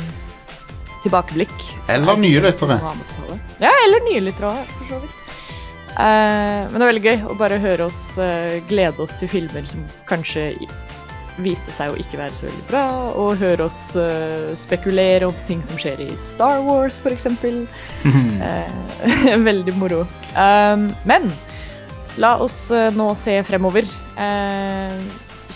tilbakeblikk. så
Eller
er det
nye
noe
lyttere.
å anbefale. Ja, eller nye lyttere òg, for så vidt. Eh, men det er veldig gøy å bare høre oss eh, glede oss til filmer som kanskje i- viste seg å ikke være så veldig bra, og høre oss eh, spekulere om ting som skjer i Star Wars, for eksempel. Eh, veldig moro. Um, men la oss eh, nå se fremover. Eh,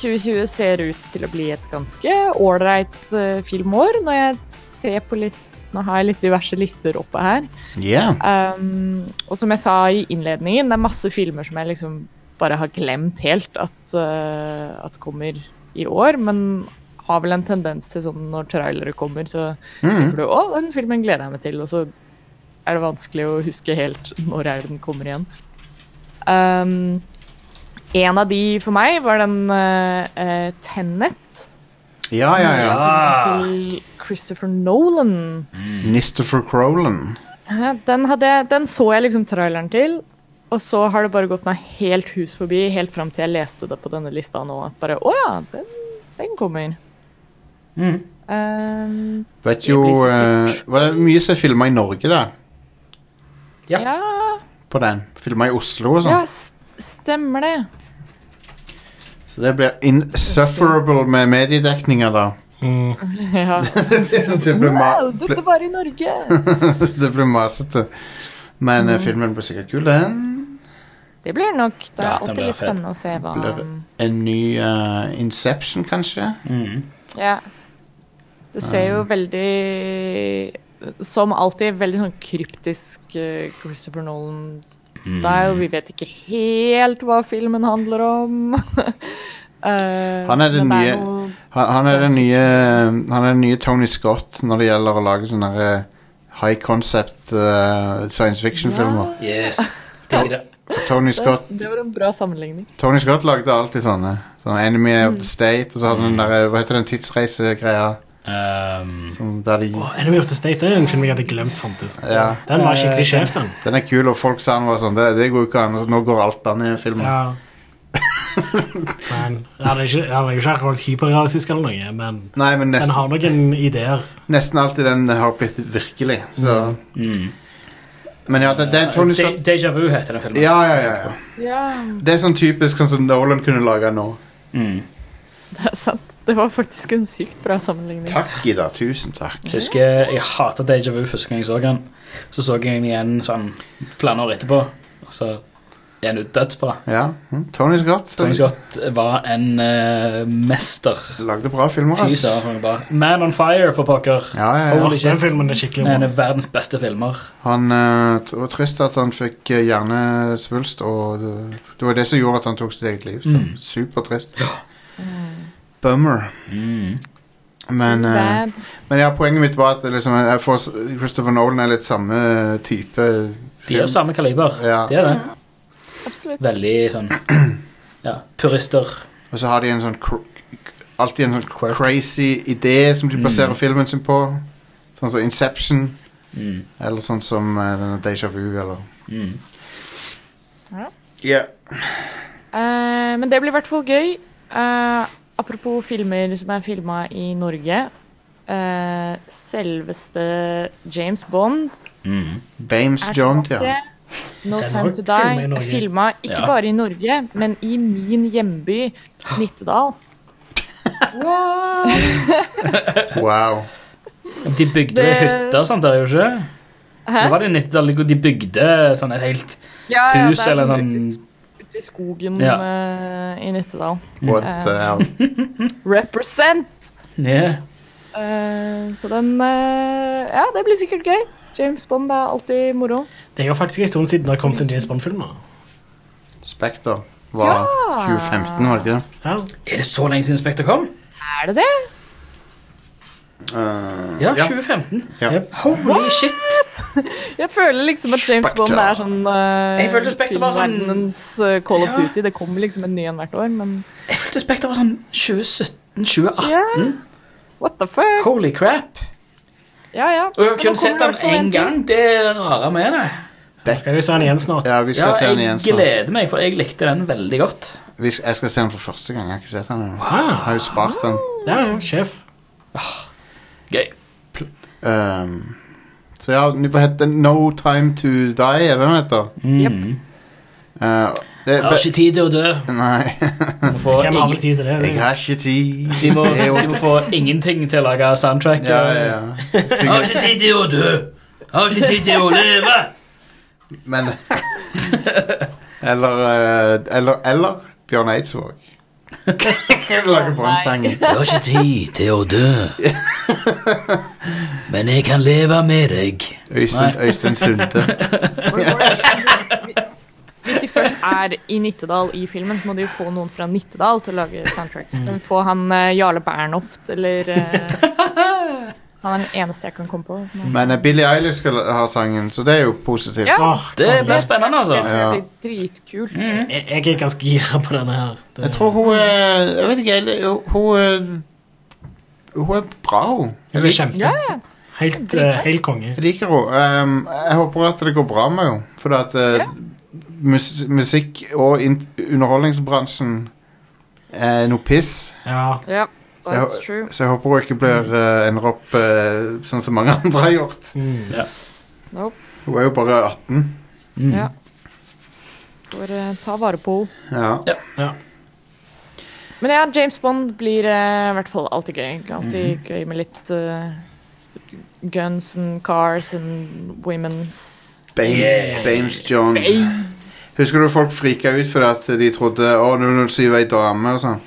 2020 ser ut til å bli et ganske ålreit eh, filmår. Når jeg ser på litt Nå har jeg litt diverse lister oppe her.
Yeah.
Um, og som jeg sa i innledningen, det er masse filmer som jeg liksom bare har glemt helt at, eh, at kommer i år, men har vel en tendens til sånn når trailere kommer, så
Mm.
tenker du å, den filmen gleder jeg meg til, og så er det vanskelig å huske helt når er det den kommer igjen. Um, en av de for meg var den eh, eh, Tenet
Ja, ja, ja.
til Christopher Nolan.
Nistofer Crolan.
Ja, Den, hadde, den så jeg liksom traileren til, og så har det bare gått meg helt hus forbi, helt fram til jeg leste det på denne lista nå. At bare Å ja, den, den kommer.
Mm.
Ehm, Det
Vet
blir
jo
sikkert.
eh, Var det mye som er filma i Norge, da?
Ja.
ja,
På den. Filma i Oslo og
ja,
sånn.
s- stemmer det.
Så det blir insufferable med mediedekninga, da.
Mm.
Ja.
det blir ma
Wow, dette var i Norge!
det blir masete. Men eh, filmen blir sikkert kul, den.
Det blir nok. Det er
Ja, den
alltid
blir
litt
fet.
spennende å se hva
Blir- En ny eh, Inception, kanskje?
Mm.
Ja. Det ser
Um.
jo veldig Som alltid veldig sånn kryptisk eh, Christopher Nolan-style.
Mm.
Vi vet ikke helt hva filmen handler om. Eh,
Han er den
men
nye-
noe-
Han, han, er den nye, han er den nye Tony Scott når det gjelder å lage sånne her, eh, high concept eh, science fiction-filmer.
Yes. Digger det.
For Tony Scott,
Det var en bra sammenligning.
Tony Scott lagde alltid sånne. Sånn Enemy
Mm.
of the State og så hadde han den der, hva heter den tidsreisegreia
Um,
som der de
Og Enemy of the State det er en film jeg hadde glemt fantes.
Ja.
Den var
Eh,
skikkelig skjev, den.
altså, Den er kul, og folk sa han var sånn Det, det går jo ikke an, og nå går alt an i den filmen.
Ja. Men, han er ikke, han er jo ikke akkurat hyperrealistisk eller noe, men
Nei, men
den
nesten,
har noen ideer.
nesten alltid den har blitt virkelig. Så.
Mm.
Men ja, det, det er Tony Scott
De- Deja vu heter den filmen.
ja, ja, ja, ja.
Ja,
Det er sånn typisk sånn som Nolan kunne lage nå.
Mm.
det er sant. Det var faktisk en sykt bra sammenligning.
Takk, Ida. Tusen takk.
Jeg husker jeg hata Deja Vu første gang jeg så den. Så så jeg den igjen sånn flere år etterpå. Og Så er den jo dødsbra.
Ja, mm, Tony Scott,
Tony Scott var en eh, mester.
lagde bra filmer.
Fy
ass. Ja,
søren. han var bra. Man on fire, for pokker.
ja, ja.
Ja,
Holy
den
shit.
filmen er skikkelig
En
bra.
av verdens beste filmer.
Han eh, det var trist at han fikk eh, hjernesvulst, og det, det var det som gjorde at han tok sitt eget liv. Så
Mm.
Supertrist.
Mm.
Bummer.
Mm.
Men, eh,
Bad.
men ja, poenget mitt var at det liksom, jeg får, s- Christopher Nolan er litt samme eh, type
De er jo samme kaliber.
Ja.
De er det.
Absolutt.
Veldig sånn ja, purister.
Og så har de en sånn cr- alltid en sånn
Quirk.
crazy idé som de
Mm.
baserer filmen sin på. Sånn som Inception,
Mm.
eller sånn som eh, denne Deja Vu, eller
Mm.
Ja.
Eh, men det blir i hvert fall gøy. Eh, apropos filmer som er filma i Norge. eh, selveste James Bond
Mm.
Bames
er
John, ja.
tilbake. No
Den
Time
var
To
filmet i
Die
Norge.
er filma ikke
Ja.
bare i Norge, men i min hjemby Nittedal.
Wow.
De bygde
Det-
hytter og sånt der, gjorde de ikke?
Hæ?
Det var det i 90-tallet hvor de bygde sånn et helt
Ja, ja,
hus
det er
eller sånn
ute i- Ute i skogen
Ja.
eh, i Nittedal.
Mm.
What the
Um.
hell.
Represent!
Ja.
Eh, så den eh, Ja, det blir sikkert gøy. James Bond er alltid moro.
Det er jo faktisk en stund siden det har kommet en James Bond-film nå.
Spekter var
Ja.
2015, var det ikke det?
Ja.
Er det så lenge siden Spekter kom?
Er det det?
Eh,
Ja, 2015.
Ja.
Yep.
Holy shit!
Jeg føler liksom at James
Spectre.
Bond er sånn uh,
Jeg følte Spectre var sånn-
Call of
Ja.
Duty. Det kommer liksom en ny en hvert år, men
Jeg følte Spekter var sånn 2017-2018.
Ja. what the fuck?
Holy crap.
Ja, ja.
Og jeg
Men
har
nå
kun sett
kommer
den
det i hvert fall
én
en
gang. Det er det rare med det.
Skal vi se den igjen snart?
ja, vi skal
Ja,
se den igjen
jeg
snart.
gleder meg, for jeg likte den veldig godt.
Vi sk- Jeg skal se den for første gang. Jeg har ikke sett den ennå. Jeg
Ah,
har jo spart den.
ja, ja, sjef.
Gøy.
Ehm, så ja, den- hva heter den? No Time To Die, er det den heter?
Jep.
Eh, det,
Mm. Jeg har ikke tid til å dø.
Nei,
De må få,
Hvem har vel
ingen,
tid til det?
jeg har ikke tid.
de må,
Det er jo-
de må få ingenting til å lage soundtrack.
Ja, ja, ja.
Jeg har
Sikkert.
ikke tid til å dø. Jeg har ikke tid til å leve.
Men Eller eh, Eller, eller Bjørn Eidsvåg. Lager
Jeg
brannsangen.
har ikke tid til å dø. Men jeg kan leve med deg.
Øystein, Øystein Sunde.
Hvis de først er i Nittedal i filmen, så må de jo få noen fra Nittedal til å lage soundtracks. Så kan vi få han eh, Jarle Bernhoft, eller eh, Han er den eneste jeg kan komme på. Som er.
Men eh, Billie Eilish skal ha sangen, så det er jo positivt.
Ja.
Åh,
Det
konge.
blir spennende, altså.
Det
Ja.
blir dritkult.
Jeg jeg er ganske gira på denne her. Det-
Jeg tror hun er Jeg vet ikke, jeg, hun er Hun er bra, hun. Jeg,
det blir
lik,
kjempe.
Ja, ja.
Helt,
Dritbra.
eh, helt konge.
jeg liker henne. Um, jeg håper at det går bra med henne. For at eh,
Ja.
mus, musikk- og in, underholdningsbransjen er noe piss.
Ja.
Mm.
ja.
Så jeg,
That's true.
så jeg håper hun ikke blir, eh, ender opp eh, sånn som mange andre har gjort.
Mm.
Nope.
Hun er jo bare 18.
Mm.
Ja. Får eh, ta vare på henne.
Ja.
Men ja, James Bond blir eh, i hvert fall alltid gøy. Alltid gøy med litt eh, guns and cars and women's
Bame,
Yes.
Bames John.
Hey.
Husker du folk frika ut fordi at de trodde å, 007 er ei dame og sånn?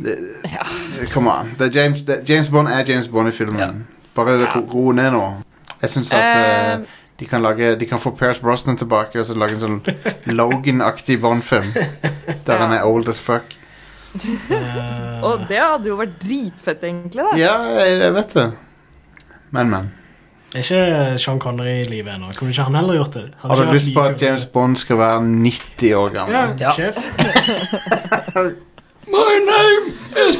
Det- det- Come on. Det er James, det, James Bond er James Bond i filmen.
Ja.
Bare ro ro ned nå. Jeg syns at eh,
Eh.
de, kan lage, de kan få Pierce Brosnan tilbake og så lage en sånn Logan-aktig Bond-film. Der
Ja.
han er old as fuck.
Eh,
Og det hadde jo vært dritfett, egentlig. da.
Ja, jeg, jeg vet det. Men, men.
er ikke Sean Connery i livet ennå? Kunne ikke han heller gjort det? Han
Har du
ikke vært
lyst på
like
at James Bond skal være 90 år gammel?
Ja,
Ja.
sjef.
My name is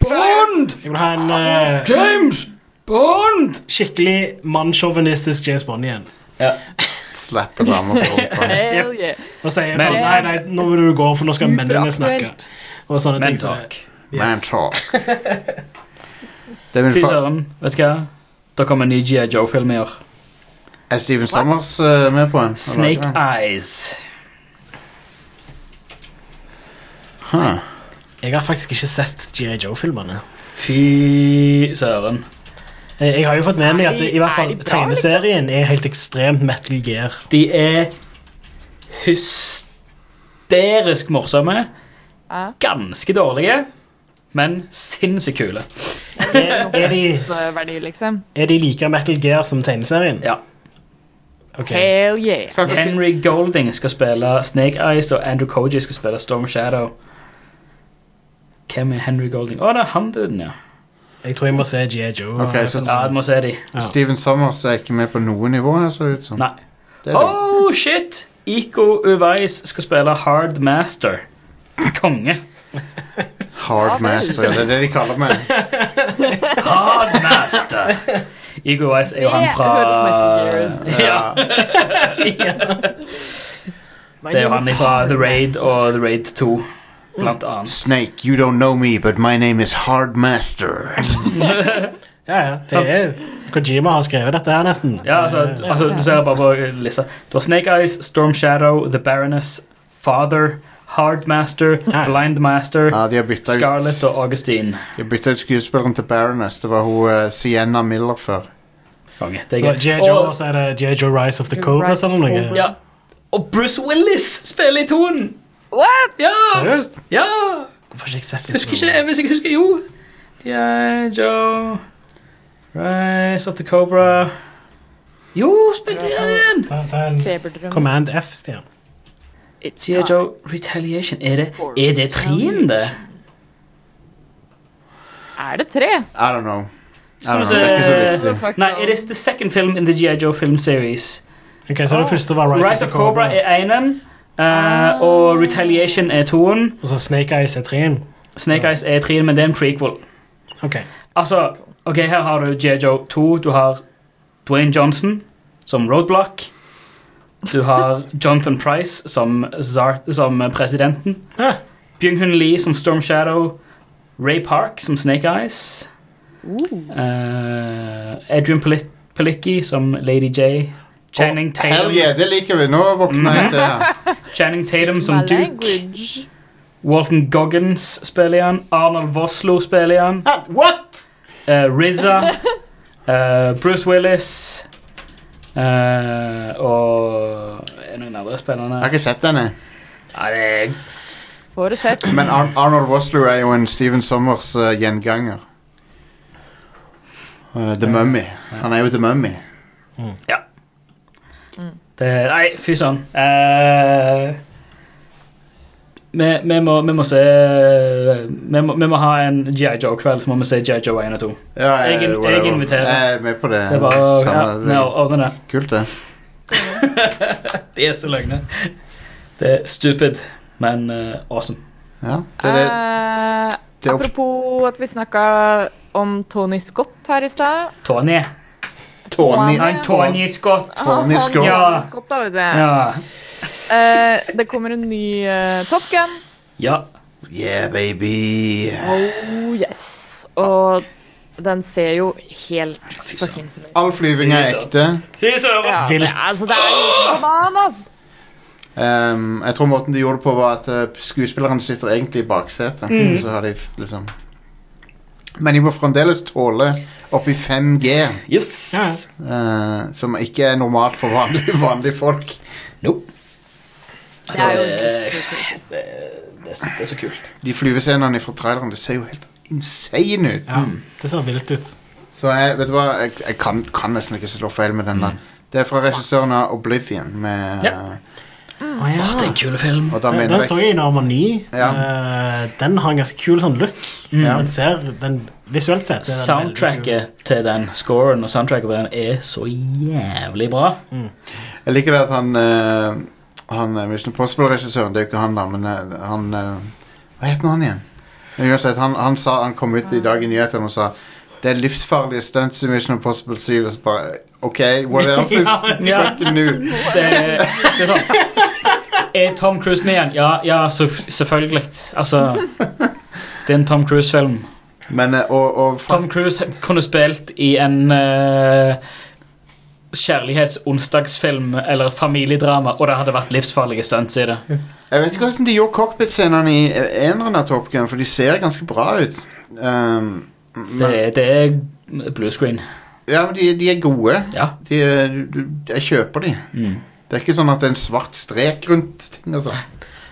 Bond!
Jeg vil ha en eh,
James Bond!
skikkelig mannssjåvinistisk James Bond igjen.
Ja.
slappe damer på rumpa.
Hell yeah.
Og sier
Men-
sånn Nei, nei, nå må du gå, for nå skal mennene snakke.
Superaktuelt.
Og sånne
Men
ting. så-
takk.
Man
Yes.
talk. Det er
Fy
min fa
søren, vet du hva? Da kommer en ny G.I. Joe-film i år.
er Steven Summers eh, med på en?
Snake Eyes.
Huh.
Jeg har faktisk ikke sett G.I. Joe-filmene.
Fy søren.
Eh, Jeg har jo fått med meg at
Er de-
i
er
hvert fall
de bra, liksom?
tegneserien er helt ekstremt Metal Gear.
De er hysterisk morsomme.
Ja.
Ganske dårlige, men sinnssykt kule.
Er, er, de,
Verdi, liksom.
er de like Metal Gear som tegneserien?
Ja.
Ok.
Hell yeah.
Kan ikke si-
Henry Golding skal spille Snake Eyes, og Andrew Koji skal spille Storm Shadow. Hvem er Henry Golding? Å, det er han duden, ja.
Jeg tror jeg må se G.I. Joe.
Ok, så-
Ja, du må se de.
Ja.
Steven Summers er ikke med på noe nivå her, ser det ut som.
Nei.
Det er dumt.
Oh, shit! Iko Uwais skal spille Hard Master. Konge.
Ja,
Hard
vel.
master, det er det de kaller meg.
Hard Master! Iko Uwais er jo han
Det
fra
høres Metal
Ja, Det er jo han fra The Raid og The Raid 2, blant
Mm.
annet.
Snake, you don't know me, but my name is Hard Master.
Ja, ja. Det er, Kojima har skrevet dette her, nesten. Eh,
Ja, altså, altså Du ser bare på lista. Du har Snake Eyes, Storm Shadow, The Baroness, Father, Hard Master,
Ja.
Blind Master,
Ja, de har bytta ut,
Scarlett og Augustine.
de har byttet ut skuespilleren til Baroness. Det var hun eh, Sienna Miller før.
Konge. Det er
Og G.I.
gøy.
Joe, og
Og,
så er det G.I. Joe Rise of the Cobra.
Rise of
Sånn,
the Cobra.
noe.
ja. og Bruce Willis spiller i tonen!
What?
Ja!
Seriøst?
ja!
Hvorfor har ikke jeg sett
Husker ikke Hvis jeg husker Jo. G.I. Joe Rise of the Cobra Jo, spilte jeg igjen!
Ta, ta en
Feberdrøm.
Command F, Stian.
It's
G.I.
time.
Joe Retaliation Er det, er det trien, det?
Er det tre?
I don't know. I don't
vi
know. Det er ikke så
se-
viktig.
Fuck
Nei,
no.
it eh, Nou, is the second film in the G.I. Joe film series.
Ok, Så det
Ah.
første var
Rise of Cobra er enen, eh,
Ah.
og Retaliation er toen.
Og så Snake Eyes er treen.
Snake Eyes er treen, men det er en prequel.
Ok.
Altså, ok, her har du G.I. Joe 2, du har Dwayne Johnson som Roadblock, du har Jonathan Price som, Zar som presidenten,
Ah.
Byung-Hun Lee som Storm Shadow, Ray Park som Snake Eyes,
Ooh.
eh, Adrian Pali- Palicki som Lady J,
Oh,
Channing Tatum
Hell yeah, det liker vi. Nå våkner
Mhm.
jeg til her.
Channing Tatum som
My
Duke.
language.
Walton Goggins spiller han. Arnold Voslo spiller han.
Ah, What?!
Uh, Rizza. eh, Bruce Willis. eh, og er det noen andre spillende?
Jeg har ikke sett denne.
Ja, det er
Får det sett.
Men Ar Arnold Vosloo er jo en Steven Summers eh, gjenganger. Eh, the Mummy. Han er jo The Mummy.
det, er- Nei, fy søren. Eh, vi, vi, må, vi må se Vi må, vi må ha en GI Joe-kveld, så må vi se GI Joe 1 og 2.
Ja, eh,
Jeg in- jeg
whatever.
inviterer.
Jeg er med på det.
Det er bare å ja,
Samme-
vi ordner det.
Kult, det.
Det er så løgne. Det er stupid, men eh, awesome.
Ja, det, er det,
Eh,
det er opp-
apropos at vi snakka om Tony Scott her i stad.
Tony.
Tony,
Nei,
Han Tony Scott.
Tony
Han-
Scott.
Ja.
Scott, da, vet du.
Ja.
Eh, det kommer en ny eh, Top Gun.
ja.
Yeah, baby.
Oh yes. Og den ser jo helt fuckings ut.
All flyving er ekte.
Fy søren.
Ja, det,
Vilt.
altså, det er jo bananas!
Ehm, jeg tror måten de gjorde det på, var at eh, skuespilleren sitter egentlig i baksetet.
Mm.
Så har de f- liksom Men de må fremdeles tåle oppi 5G,
Yes.
Ja.
eh, som ikke er normalt for vanlige, vanlige folk.
Nope.
Det er jo
Eh,
helt utrolig.
Det, det, er så, det er så kult.
De flyvescenene fra traileren det ser jo helt insane ut.
Ja,
Mm.
det ser vilt ut.
Så jeg, vet du hva, jeg, jeg kan, kan nesten ikke slå feil med den der.
Mm.
Det er fra regissøren av Oblivion. Med,
Ja.
eh,
Mm.
Å, ja.
Åh, det er en kul film.
og da
Eh, Den,
mener
den
jeg
så jeg i Narva 9.
Ja. Mm.
Eh, den har en ganske kul sånn look.
Ja.
Den ser, den, visuelt sett er den veldig
Soundtracket til den scoren og soundtracket på den er så jævlig bra.
Jeg liker det at han uh, Han eh, Mission Possible-regissøren, det er jo ikke han da, men eh, han eh, Hva heter han igjen? Men Uansett, han, han sa Han kom ut i dag i nyhetene og sa det er livsfarlige stunts i Mission Impossible 7. Og så bare OK, what else is
Ja.
fucking new?
Det, det er sånn Er Tom Cruise med igjen? Ja, ja så, selvfølgelig. Altså Det er en Tom Cruise-film.
Men, eh, og, og fra-
Tom Cruise kunne spilt i en eh, kjærlighetsonsdagsfilm eller familiedrama, og det hadde vært livsfarlige stunts i det.
Jeg vet ikke hvordan de gjorde cockpit-scenene i eh, eneren av Top Gun, for de ser ganske bra ut. Um,
Det,
men,
det er blue screen.
ja, men de, de er gode.
Ja.
De, er- du- du- jeg kjøper de.
Mm.
Det er ikke sånn at det er en svart strek rundt ting. Altså.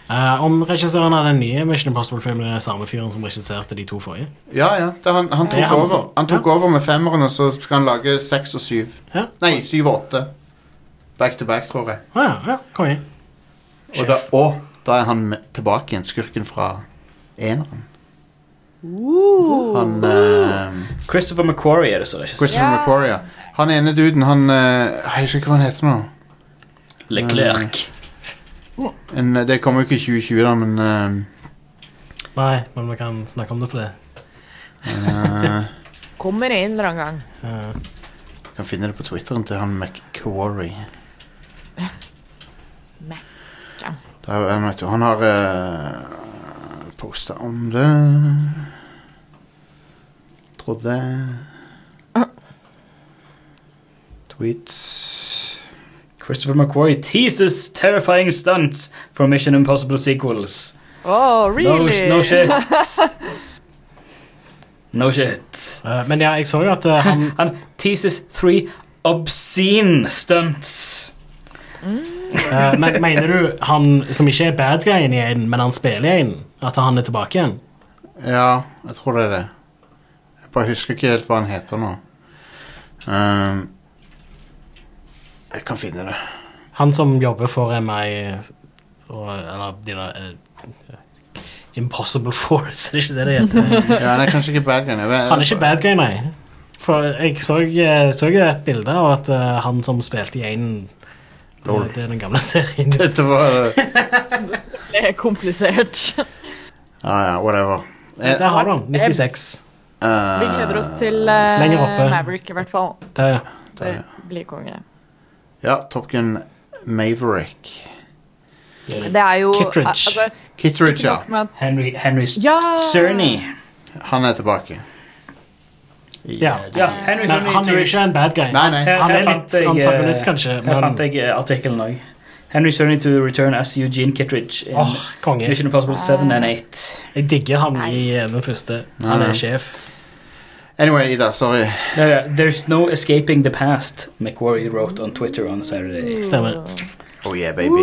Eh, om regissøren av den nye Mission Impossible-filmen er samme fyren som regisserte de to forrige.
Ja, ja. Det er han, han
Det
tok,
er han som-
over. Han tok over med femmeren, og så skal han lage seks og syv.
Ja.
Nei, syv og åtte. Back to back, tror jeg.
Å Ah, ja, ja, kom igjen.
Og da, og da er han med, tilbake igjen, skurken fra eneren.
Uh,
Han eh,
Christopher McQuarrie er det som regisserer.
Christopher
Ja.
McQuarrie, ja. Han ene duden, han eh, Jeg husker ikke hva han heter nå.
Leclerc.
En, eh, det kommer jo ikke i 2020, da, men eh,
Nei, men vi kan snakke om det for det.
eh,
Kommer en eller annen gang.
Eh,
Kan finne det på Twitteren til han McQuarrie.
Mac, ja.
Det er jo en, vet du, han har uh, posta om det Trodde
Ah.
Tweets
Christopher McQuarrie teases terrifying stunts for Mission Impossible sequels.
Oh,
No,
really?
no shit. No shit.
eh, men ja, jeg så jo at eh, han
Han teases three obscene stunts.
eh, men, Mener du han som ikke er bad guyen i en, men han spiller i en? At han er tilbake igjen?
Ja, jeg tror det er det. Jeg bare husker ikke helt hva han heter nå. Ehm, jeg kan finne det.
Han som jobber for MI og, Eller de der eh, Impossible Force, er det ikke det det heter?
Ja, han er kanskje ikke bad guy.
Han er ikke bad guy, nei. For jeg så, eh, så jo et bilde av at eh, han som spilte i en det,
Lol.
det er den gamle serien.
Dette var
Det er komplisert.
Ja, ja, whatever. Eh,
Der har du han. 96.
eh,
Vi gleder oss til eh,
Lenger oppe.
Maverick, i hvert fall.
Der, ja.
Det blir konge.
Ja, Top Gun Maverick.
Det er jo
Kittredge.
Altså,
Kitteridge,
ikke
ja.
nok med at
Henry, Henry
Ja!
Cerny.
Han er tilbake.
Ja.
Ja, Henry
Men han er jo ikke en bad guy.
Nei, nei.
Her-
Han
her
er
fant
litt
jeg, eh,
antagonist, kanskje,
Her
men-
fant jeg eh, artikkelen òg. Henry Cerny to return as Eugene Kittredge in
Åh, konge.
Mission Impossible 7 and 8.
Jeg digger han i eh, den første. Han
Nei.
er sjef.
Anyway, Ida, sorry.
No, no, there's no escaping the past, McQuarrie wrote on Twitter on Saturday.
Stemmer.
Oh yeah, baby.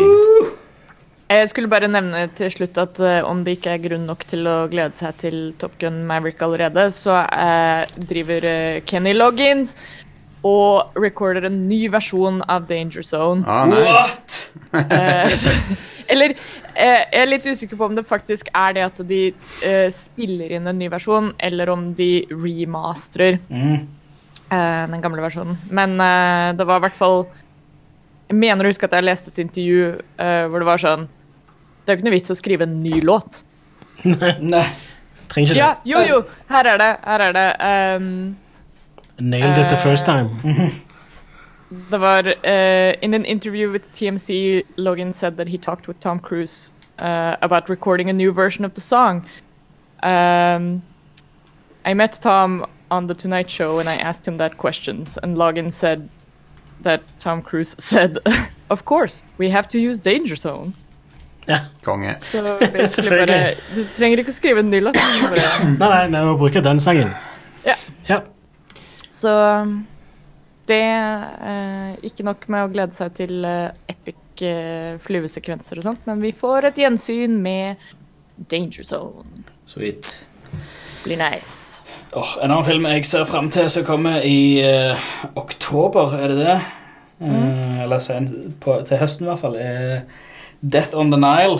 Jeg skulle bare nevne til slutt at eh, om det ikke er grunn nok til å glede seg til Top Gun Maverick allerede, så eh, driver eh, Kenny Loggins og recorder en ny versjon av Danger Zone.
Ah, nei.
What?!
Eh, Eller eh, jeg er litt usikker på om det faktisk er det at de eh, spiller inn en ny versjon, eller om de remasterer
Mm.
eh, den gamle versjonen. Men eh, det var i hvert fall Jeg mener å huske at jeg leste et intervju eh, hvor det var sånn Det er jo ikke noe vits å skrive en ny låt.
Nei.
Trenger ikke
Ja,
det.
jo, jo! Her er det. Her er det. ehm,
Nailed it the first
Eh.
time.
Det var eh, In an interview with TMC, Logan said that he talked with Tom Cruise uh, about recording a new version of the song. Um, I met Tom on the Tonight Show and I asked him that question, and Logan said that Tom Cruise said, "Of course, we have to use Danger Zone."
Konge.
Så basically bare, du trenger ikke å skrive en ny låt. du bare-
Nei, nei, men vi bruker den sangen.
Ja.
ja.
Så um, det eh, Ikke nok med å glede seg til eh, epic eh, flyvesekvenser og sånt, men vi får et gjensyn med Danger Zone.
Sweet.
Blir nice.
Åh, en annen film jeg ser frem til som kommer i eh, oktober, er det det? Eh,
Mm.
eller sen, på, til høsten i hvert fall. er Death on the Nile.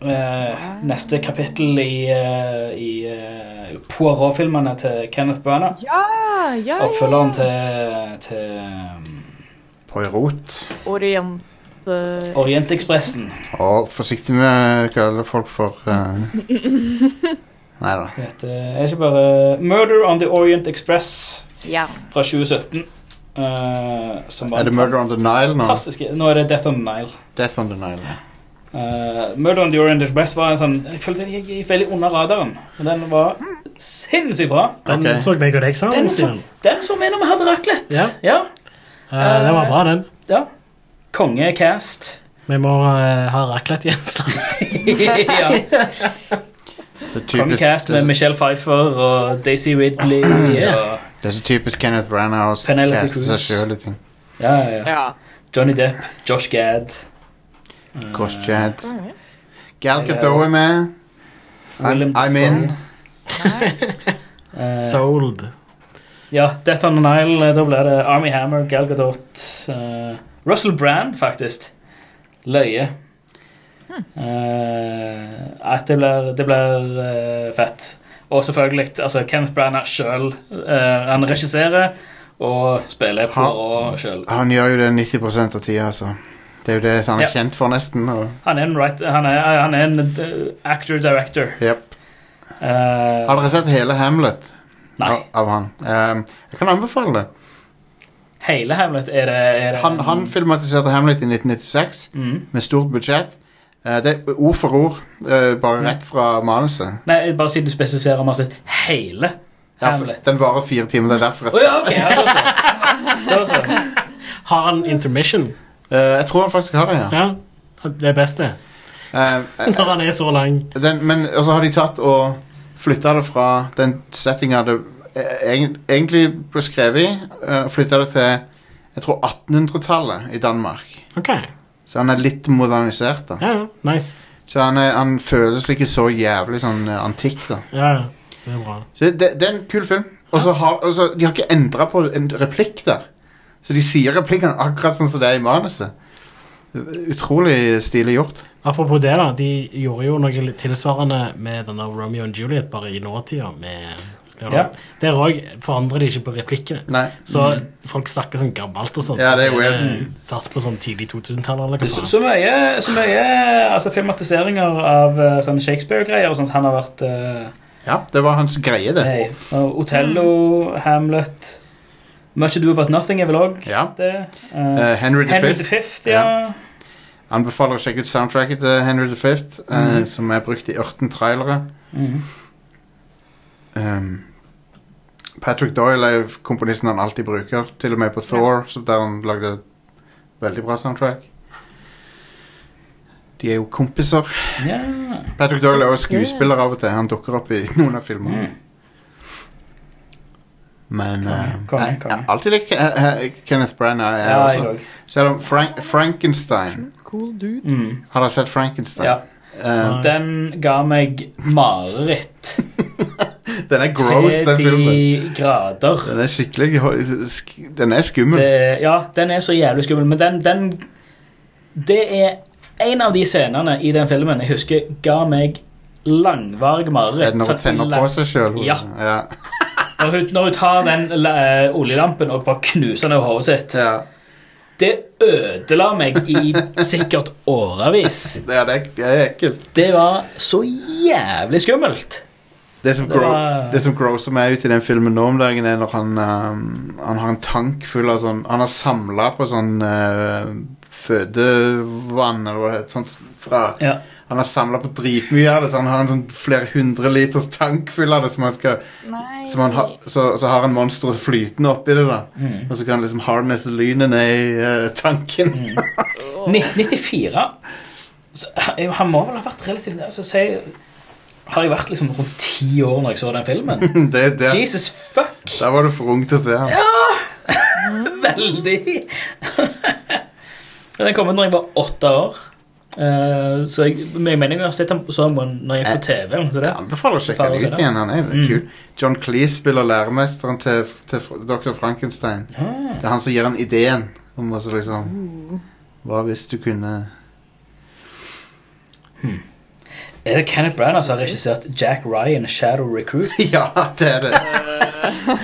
Eh,
Ah.
Neste kapittel i, eh, i eh, Poirot-filmene til Kenneth Branagh.
Ja, Ah, ja,
Oppfølgeren til, til um,
Poirot.
Orient... eh,
Orientekspressen.
Og forsiktig med å kalle folk for eh, Nei da.
Heter, er ikke bare Murder on the Orient Express
Ja.
fra 2017. eh, som var
Er det
en
Murder on the Nile nå?
fantastisk Nå er det Death on the Nile.
Death on the Nile. ja.
Eh, Murder on the Orient Express var en sånn Jeg følte den gikk veldig under radaren, men den var sinnssykt bra.
Den
Ok.
så jeg og deg sammen,
Den så-
Stian.
Den så vi når vi hadde raclette.
Ja.
ja.
Eh, den var bra, den.
Kongecast.
Vi må eh, ha raclette igjen snart.
ja.
Det er typisk,
Kongecast
det
med
er,
Michelle Pfeiffer og Daisy Ridley og
det er så typisk Kenneth Branagh å
Penelope
caste seg
Cruz.
sjøl i ting.
ja, ja, ja.
ja.
Johnny Depp, Josh Gad. eh,
Gosh, Chad.
Mm.
Gal Gadot er med. I'm,
Willem
I'm
Dafoe.
in.
Nei.
eh,
Sold.
Ja, Death on the Nile, eh, da blir det Army Hammer, Gal Gadot eh, Russell Brand, faktisk. Løye. Eh, at det blir, det blir eh, fett. Og selvfølgelig altså, Kenneth Branagh sjøl. eh, han regisserer og spiller på sjøl.
Han gjør jo det 90 av tida, altså. Det er jo det han er
Ja.
kjent for, nesten. Og,
Han er en, writer- han er, han er en eh, actor-director.
Jep.
Eh,
Har dere sett hele Hamlet
nei.
av, av han? Ehm, jeg kan anbefale det.
Hele Hamlet er det, er det
Han, han filmatiserte Hamlet i 1996
mm.
med stort budsjett. Eh, det er ord for ord, eh, bare rett fra manuset.
Nei, bare si du spesifiserer om han har sett hele
Ja, for-
Hamlet.
Den varer fire timer, det er derfor jeg
Å ja, ok. Ja, det var sånn. Det var sånn.
Har han intermission?
Eh, Jeg tror han faktisk har det, ja.
Ja. Det er best, det.
Eh, eh,
Når han er så lang.
den, men og så har de tatt og flytta det fra den settinga det eh, egen- egentlig ble skrevet i, uh, flytta det til jeg tror 1800-tallet i Danmark.
OK.
Så han er litt modernisert, da.
Ja, ja. Nice.
Så han, er, han føles ikke så jævlig sånn eh, antikk, da.
Ja, ja. Det er bra.
Så det, det er en kul film. Og så har og så- de har ikke endra på en replikk der. Så de sier replikkene akkurat sånn som det er i manuset. Utrolig stilig gjort.
Apropos det, da. De gjorde jo noe litt tilsvarende med denne Romeo and Juliet bare i nåtida. Med
Ja.
Der òg forandrer de ikke på replikkene.
Nei.
Så
Mm.
folk snakker sånn gammelt og sånt.
Ja, det er
og så
weird.
det Satt på sånn tidlig 2000-tallet eller
Så,
hva faen.
så mye, så mye altså, filmatiseringer av eh, sånne Shakespeare-greier og sånt han har vært eh,
Ja, det var hans greie, det.
med i. Og Othello, Hamlet Much Ado About Nothing er vel òg
Ja.
det. Eh,
Eh, Henry the
Henry
Fifth.
the Fifth, ja.
Anbefaler å sjekke ut soundtracket til Henry the Fifth, eh,
Mm.
som er brukt i 18 trailere.
Mhm.
Um, Patrick Doyle er jo komponisten han alltid bruker, til og med på Thor, så der han lagde veldig bra soundtrack. De er jo kompiser.
ja. mm.
Patrick Doyle er også skuespiller av og til. Han dukker opp i noen av filmene.
Mm.
Men eh,
Konge,
jeg- jeg
konge.
har alltid likt eh, eh, Kenneth Branagh. Jeg,
ja, jeg
også.
òg.
Selv om Frank Frankenstein
Cool dude.
Mm.
Har dere sett Frankenstein?
Ja. Ah.
Eh,
Den ga meg mareritt.
den er gross, den filmen.
30 grader.
Den er skikkelig sk- Den er skummel.
Det, ja, den er så jævlig skummel, men den, den Det er en av de scenene i den filmen jeg husker ga meg
Er
langvarig
det
mareritt.
når hun
Sånn,
tenner på seg sjøl.
Ja.
Ja.
Når hun, når hun tar den eh, oljelampen og bare knuser den over hodet sitt.
Ja.
Det ødela meg i sikkert årevis.
Ja, det er, det er ekkelt.
Det var så jævlig skummelt.
Det som,
Det
gro
var-
det som grosser meg ut i den filmen nå om dagen, er når han, ehm, han har en tank full av sånn Han har samla på sånn eh, fødevann, eller hva det heter. Sånt fra,
Ja.
han har samla på dritmye av det, så han har en sånn flere hundre liters tank full av det. Som han skal,
Nei.
som han ha, så, så har han monsteret flytende oppi det, da.
Mm.
Og så kan han liksom harnesse lynet ned i eh, tanken.
Mm. 1994 så, han, han må vel ha vært relativt altså, si, Har jeg vært liksom rundt ti år når jeg så den filmen?
det, det,
Jesus fuck!
der var du for ung til å se ham.
Veldig! den kom ut når jeg var åtte år. Eh, så jeg, men jeg mener jeg har sett den så den når jeg er på altså TV. eller noe sånt
Jeg
der.
anbefaler å sjekke
Bare
det
se
ut
det.
igjen. Han er
Mm.
kul. John Cleese spiller læremesteren til, til Fr- Dr. Frankenstein.
Ah.
Det er han som gir han ideen om å så liksom Hva hvis du kunne
Er det Kenneth Branagh som har regissert Jack Ryan Shadow Recruit?
Ja, det er det.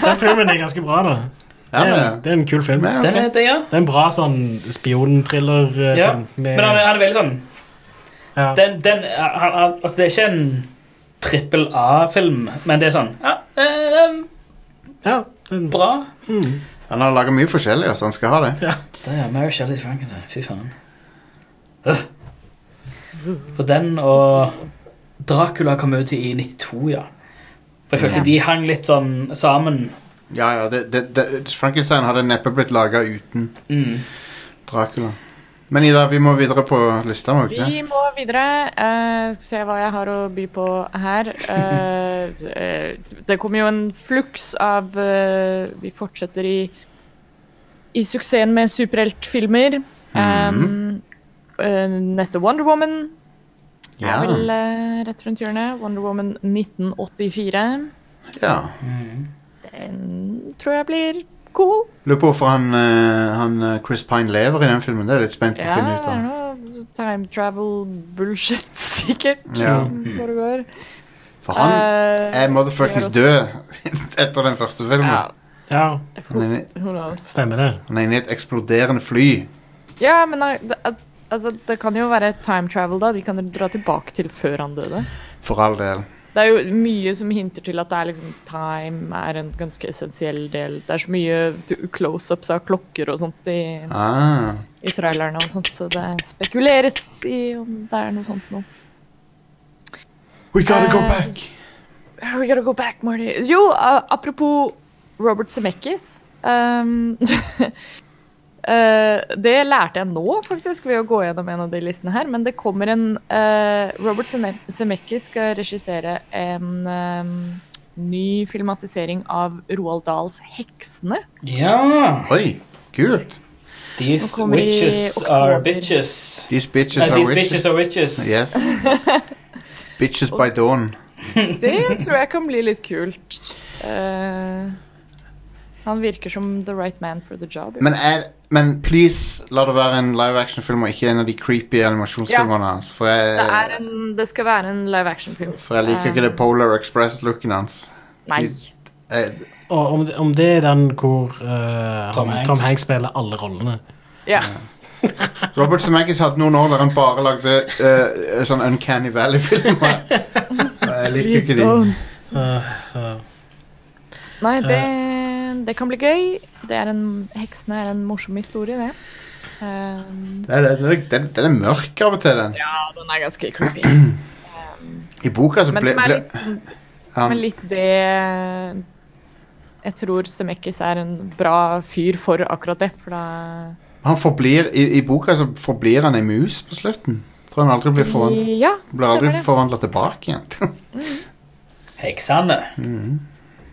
Den filmen er ganske bra, da.
Ja,
det,
det
er, det er en kul film.
Men,
Den er det, ja.
Det er en bra sånn spionthriller-film.
Ja, Men han er, han er veldig sånn
ja.
den, den, han, han, altså, Det er ikke en trippel A-film, men det er sånn ja, eh,
Ja, den,
Bra.
mm.
Han har laga mye forskjellig, altså. Han skal ha det.
Det er Mary Shelley Frankenstein. Fy faen. Øh. For den og Dracula kom ut i 92, ja. For jeg følte
Ja.
de hang litt sånn sammen.
Ja, ja, det, det, det, Frankenstein hadde neppe blitt laga uten
Mm.
Dracula. Men Ida, vi må videre på lista, må vi ikke det?
Vi må videre. Eh, skal vi se hva jeg har å by på her. Eh, d- eh, det kommer jo en fluks av eh, Vi fortsetter i, i suksessen med superheltfilmer.
Mhm.
Um, eh, neste Wonder Woman
Ja.
er vel eh, rett rundt hjørnet. Wonder Woman 1984.
ja.
Mm.
Den tror jeg blir cool.
Lurer på hvorfor han, eh, han eh, Chris Pine lever i den filmen. Det er jeg litt spent på å
Ja,
finne
det
ut
er
av.
noe time travel bullshit, sikkert,
Ja.
som foregår.
For han
Eh,
er motherfuckings
det
død
gjør oss-
etter den første filmen.
Ja,
ja,
Han er, inne-
who knows.
stemmer det.
han er inne i et eksploderende fly.
Ja, men eh, det, at- altså, det kan jo være time travel, da. De kan dra tilbake til før han døde.
For all del.
Det er jo mye som hinter til at det er liksom time er en ganske essensiell del. Det er så mye t- close-ups av klokker og sånt i,
Ah.
i trailerne og sånt, så det spekuleres i om det er noe sånt nå.
We gotta go
Eh,
back!
We gotta go back, Marty. Jo, a- apropos Robert Zemeckis. ehm, eh, det lærte jeg nå, faktisk, ved å gå gjennom en av de listene her. Men det kommer en eh, Robert Zene- Zemeckis skal regissere en ehm, ny filmatisering av Roald Dahls 'Heksene'.
Ja.
Oi, kult!
These
Nå kommer de i
witches
oktober.
are bitches.
These
Nei,
bitches are
these
witches.
bitches are witches.
Yes. bitches by dawn.
Det tror jeg kan bli litt kult. Eh, han virker som the right man for the job.
Men, er, men please, la det være en live action-film og ikke en av de creepy animasjonsfilmene hans. For
Det, er
jeg,
en, det skal være en live action-film.
for jeg liker ikke det Polar Express-looken hans.
Nei.
Eh,
Og om, det- om det er den hvor eh,
Tom
han-
Hanks.
Tom Hanks spiller alle rollene.
Ja.
Robert Zemeckis hadde noen år der han bare lagde eh, sånn Uncanny Valley-filmer. Og jeg liker ikke de.
Eh, eh,
Nei, det, det kan bli gøy. Det er en, heksene er en morsom historie, det. Um,
Den er, den er, den- den er mørk av og til, den.
ja, den er ganske creepy. Um,
I boka så
men
ble,
som er
ble
litt, sånn, som
han,
er litt det Jeg tror Stemekis er en bra fyr for akkurat det, for da
han forblir, i, I boka så forblir han ei mus på slutten. Tror han aldri blir, foran,
Ja,
blir aldri
stemmer det.
forvandla tilbake igjen.
Heksene.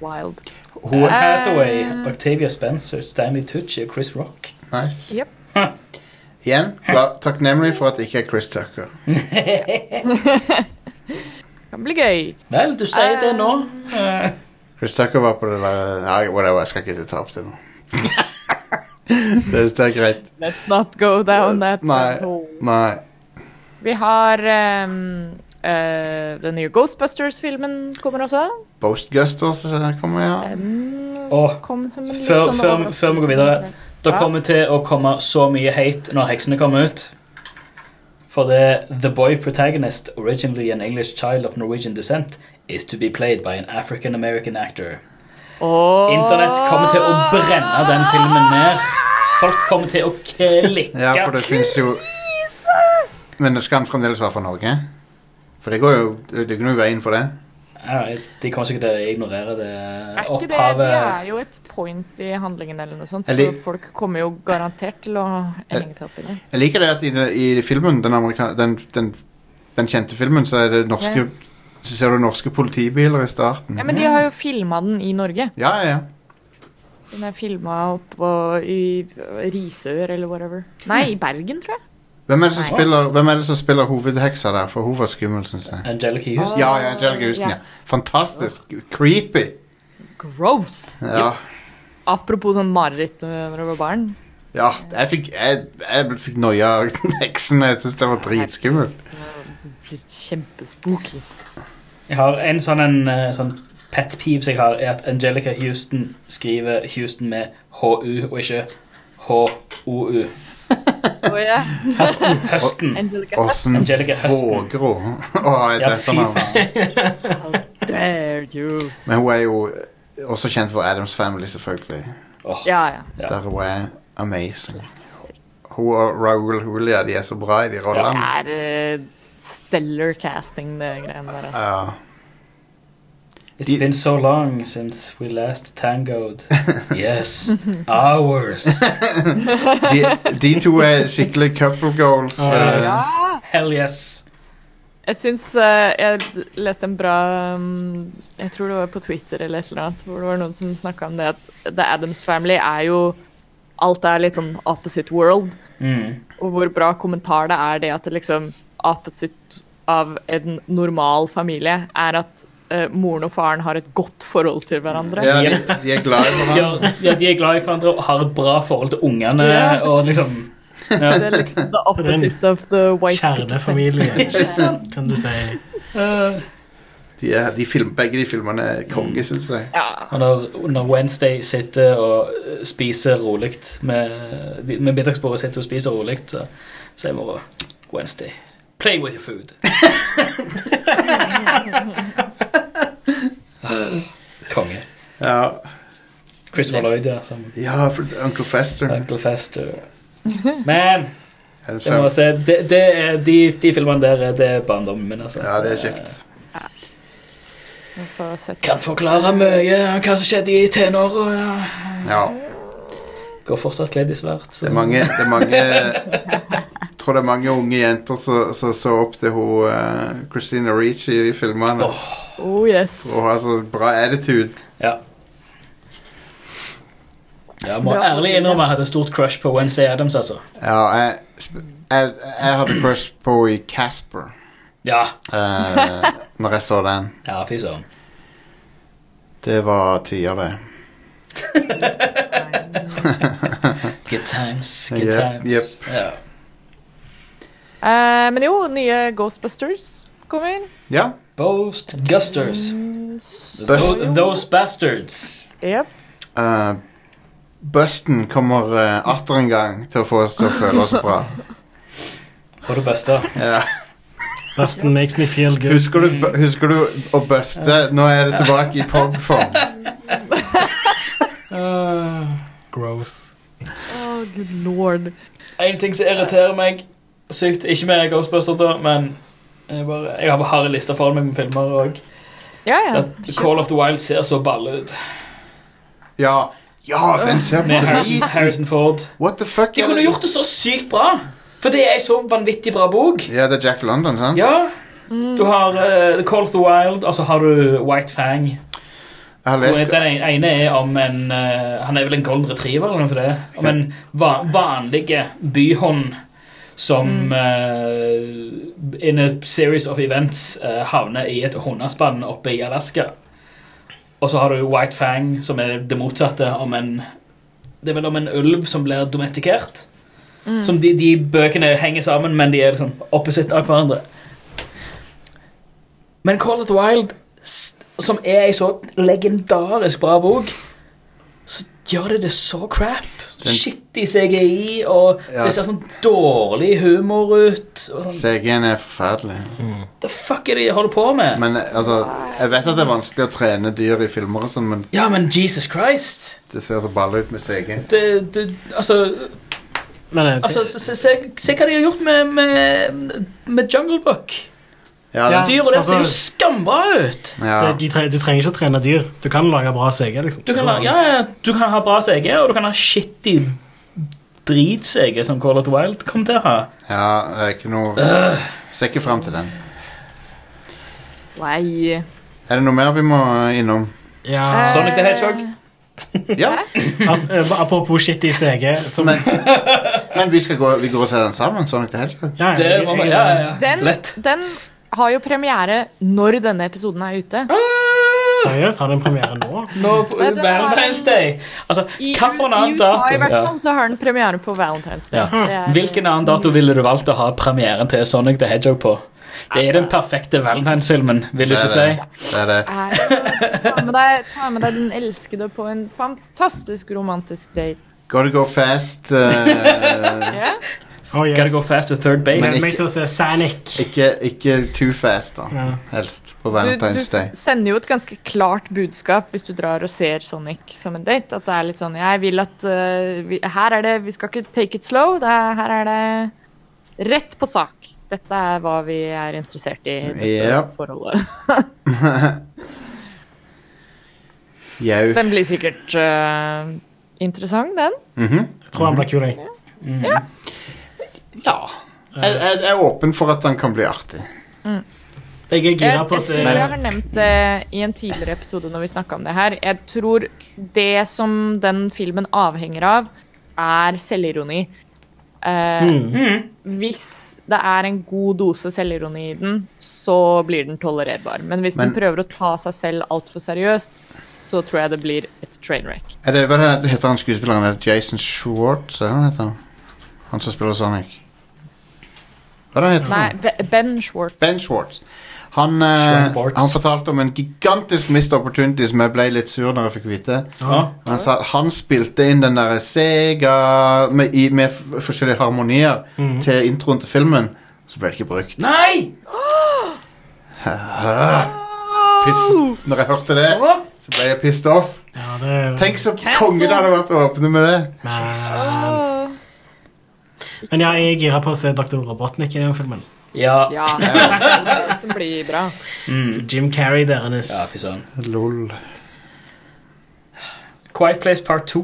wild.
Hun Hathaway,
Eh.
Octavia Spencer, Stanley Tucci og Chris Rock.
nice.
Yep.
Igjen, glad- takknemlig for at det ikke er Chris Tucker.
Kan bli gøy.
Vel, du sier det nå. Eh,
Chris Tucker var på det der Nei, whatever, jeg skal ikke ta opp det nå. det, det er greit.
Let's not go down that
Nei.
hole.
Nei.
Vi har um, eh, den nye Ghostbusters-filmen kommer også.
Boastgusters eh, kommer, ja.
Den
Og
kom som en litt
Før-
sånn
før-
overraskelse.
før vi går videre. det
Ja.
kommer til å komme så mye hate når heksene kommer ut. For det The boy protagonist, originally an English child of Norwegian descent, is to be played by an African-American actor.
Åh.
Internett kommer til å brenne den filmen ned. Folk kommer til å klikke.
Ja, for det fins jo Men skal han fremdeles være fra Norge? For det går jo Det er ikke noe i veien for det.
Nei, De kommer sikkert til å ignorere det
Er ikke det, det
opphavet.
er jo et point i handlingen eller noe sånt,
Eller-
så folk kommer jo garantert til å henge seg opp i det.
Jeg liker det at i, i filmen, den, amerika- den, den, den kjente filmen, så er det norske Så ser du norske politibiler i starten.
Ja, men de har jo filma den i Norge.
Ja, ja, ja.
Den er filma oppå i Risør eller whatever. Nei, i Bergen, tror jeg.
Hvem er det som
Nei.
spiller, hvem er det som spiller hovedheksa der? For hun var skummel, syns jeg.
Angelica Hughes.
Ja, ja, Angelica Houston, ja. Fantastisk. Creepy.
Gross!
Ja.
Apropos sånn mareritt eh, når du var barn.
ja jeg fikk, jeg, jeg fikk noia av heksen. Jeg syns det var dritskummelt.
Det er Kjempespooky.
Jeg har en sånn, en, eh, sånn pet peeves jeg har, er at Angelica Houston skriver Houston med HU og ikke HOU.
Oh, yeah.
Høsten. Høsten.
Angelica.
Åssen
Angelica Huston.
våger hun å ha et
Ja, fy
etternavn?
faen.
Dare you.
Men hun er jo også kjent for Adams Family, selvfølgelig.
Åh,
Ja, ja.
Ja.
Der hun er amazing. Hun og Raoul Julia de er så bra i de rollene.
Det er eh, stellar casting, det greiene der. Altså.
Ja.
It's been so long since we last tangoed. Yes. Hours.
de, de to er skikkelig couple goals.
Ja.
eh,
Ja!
Hell yes.
Jeg syns eh, Jeg leste en bra um, Jeg tror det var på Twitter eller et eller annet, hvor det var noen som snakka om det at The Adams Family er jo Alt er litt sånn opposite world.
Mm.
Og hvor bra kommentar det er det at det liksom opposite av en normal familie er at eh, moren og faren har et godt forhold til hverandre.
ja, de, de er glad i
De,
hverandre.
er, ja, de er glad i hverandre og har et bra forhold til ungene.
Ja.
Og liksom
Det er liksom the opposite of the white
Kjernefamilie,
Ikke sant?
kan du si.
Eh,
De er, de film, begge de filmene er konge,
Mm.
syns jeg.
Ja.
og når, når Wednesday sitter og eh, spiser rolig med, med middagsbordet sitt og spiser rolig, så sier mora Wednesday Play with your food. Ah, Konge.
Ja,
Christopher Lloyd, ja. Som
ja for Uncle Fester.
Uncle Fester. Men
Adams
jeg
Family.
må si, det, det er, de, de filmene der er- det er barndommen min. Altså.
Ja, det er kjekt.
vi får sett.
Kan forklare mye om hva som skjedde i tenåra. Ja.
Ja,
Går fortsatt kledd i svart. så-
det er mange, det er mange Jeg tror det er mange unge jenter som som så opp til hun eh, Christina Ricci i filmene.
Åh.
Oh yes.
For hun har så bra attitude.
Ja. Jeg må
Bra
ærlig
familie.
innrømme jeg hadde et stort crush på Wednesday Adams, altså.
Ja, jeg, jeg, jeg hadde crush på henne i Casper
Ja,
eh, når jeg så den.
ja fy søren.
Det var tider, det.
Good times, good
Yep,
times. Ja.
Eh, men jo, nye Ghostbusters kommer.
Ja.
Boast gusters.
Bust.
Bust.
Those, those bastards.
Yep.
Eh, Busten kommer uh, atter en gang til å få oss til å føle oss bra.
For det beste.
Ja.
Busten makes me feel good.
Husker, du, bu- husker du å buste? Nå er det tilbake i pog-form.
Gross.
Oh, good lord.
En ting som irriterer meg sykt, ikke med Ghostbusters, da, men jeg, bare, jeg har bare harde lister foran meg med filmer og
Ja, ja.
At Call of the Wild ser så balle ut.
Ja, ja, den ser
Med
på
Harrison,
drit
Harrison Ford.
What the fuck?
De
er
kunne
det?
gjort det så sykt bra! For det er en så vanvittig bra bok.
Ja, det er Jack London, sant?
Ja. Du
Mm,
har eh, The Call of the Wild, og så har du White Fang.
Jeg har
Og
lest
Den ene- ene er om en eh, Han er vel en golden retriever, eller noe sånt. det. Om en va vanlig byhånd som eh, in a series of events eh, havner i et hundespann oppe i Alaska. Og så har du White Fang, som er det motsatte. om en Det er vel om en ulv som blir domestikert. Som de, de bøkene henger sammen, men de er liksom opposite av hverandre. Men Call of the Wild, s- som er ei så legendarisk bra bok, så gjør det det så crap.
Den-
Skittig CGI, og
Ja,
det ser sånn dårlig humor ut. Og sånn,
CG-en er forferdelig.
The fuck er det de holder på med?
Men eh, altså, jeg vet at det er vanskelig å trene dyr i filmer og sånn, men
Ja, men Jesus Christ!
det ser så balle ut med CG.
Det, det, altså,
Men eh,
altså se, se, se hva de har gjort med, med, med Jungle Book.
Ja,
Ja.
den,
Dyra der ser jo
altså-
skambra ut!
ja.
det, de tre, du trenger ikke å trene dyr. Du kan lage bra CG, liksom.
Du kan, ha- ja, ja, du kan ha bra CG, og du kan ha shitty drit-CG, som Call of the Wild kommer til å ha.
ja, det er ikke noe Ser ikke fram til den.
Nei.
Er det noe mer vi må eh, innom?
Ja.
Sonic the Hedgehog.
Ja,
Ap eh, apropos shit i CG, som
men, men vi, skal gå, vi går og ser den sammen, sånn Sonic the Hedgehog.
ja,
Det
jeg-
var
jeg-
bare, Eh, ja, ja, ja.
Den,
Lett.
den har jo premiere når denne episoden er ute.
Seriøst, har den premiere nå?
Nå på
Nei, den var-
Valentine's Day. Altså,
I,
hva for en
i
annen
USA i hvert
dato?
fall så har den premiere på Valentine's Day.
Ja.
Det er-
Hvilken annen dato ville du valgt å ha premieren til Sonic the Hedgehog på? Det er den perfekte Valentine's-filmen, vil du
Det er
ikke si?
det. Det er det.
er- Ta med, deg, ta med deg den elskede på en fantastisk romantisk date.
Gotta go fast. eh,
Ja?
Oh, yes.
Gotta go fast to third base.
Gleder
Men
meg til å se Sanic.
Ikke, ikke too fast, da.
Ja.
Helst. På
Du,
Valentine's Day.
du sender jo et ganske klart budskap hvis du drar og ser Sonic som en date. At det er litt sånn Jeg vil at eh, vi, Her er det Vi skal ikke take it slow. Det er, her er det rett på sak. Dette er hva vi er interessert i. Dette
Ja.
forholdet.
Jau.
Den blir sikkert eh, interessant, den.
Mhm.
Jeg tror han blir kul, jeg.
Ja. Jeg, jeg, jeg er åpen for at den kan bli artig.
Jeg er gira
Jeg,
på å
jeg
se
tror jeg har nevnt det i en tidligere episode når vi snakket om det her. Jeg tror det som den filmen avhenger av, er selvironi. Eh,
Mm.
Hvis det er en god dose selvironi i den, så blir den tolererbar. Men hvis
Men-
den prøver å ta seg selv altfor seriøst, så tror jeg det blir et trainwreck.
Er det, hva er det, heter han skuespilleren? Er det Jason Schwartz? Er det han, heter? han som spiller Sonic? Hva er det han heter? for
Nei,
noe?
Be- Ben Schwartz.
Ben Schwartz. Han, eh,
Schwartz.
han fortalte om en gigantisk missed opportunity som jeg ble litt sur når jeg fikk vite.
Ja.
Han sa at han spilte inn den derre Sega med, i, med f- forskjellige harmonier til introen til filmen. Så ble det ikke brukt.
Nei!
Piss. Når jeg hørte det, så ble jeg pissed off.
Ja, det er
Tenk så konge det hadde vært å åpne med det.
Men, men ja, jeg er gira på å se Dr. Robotnik i den filmen.
Ja.
Ja, det er det som blir bra.
Mm.
Jim Carrey deres.
Ja, fy søren.
Lol.
Quiet Place Part 2.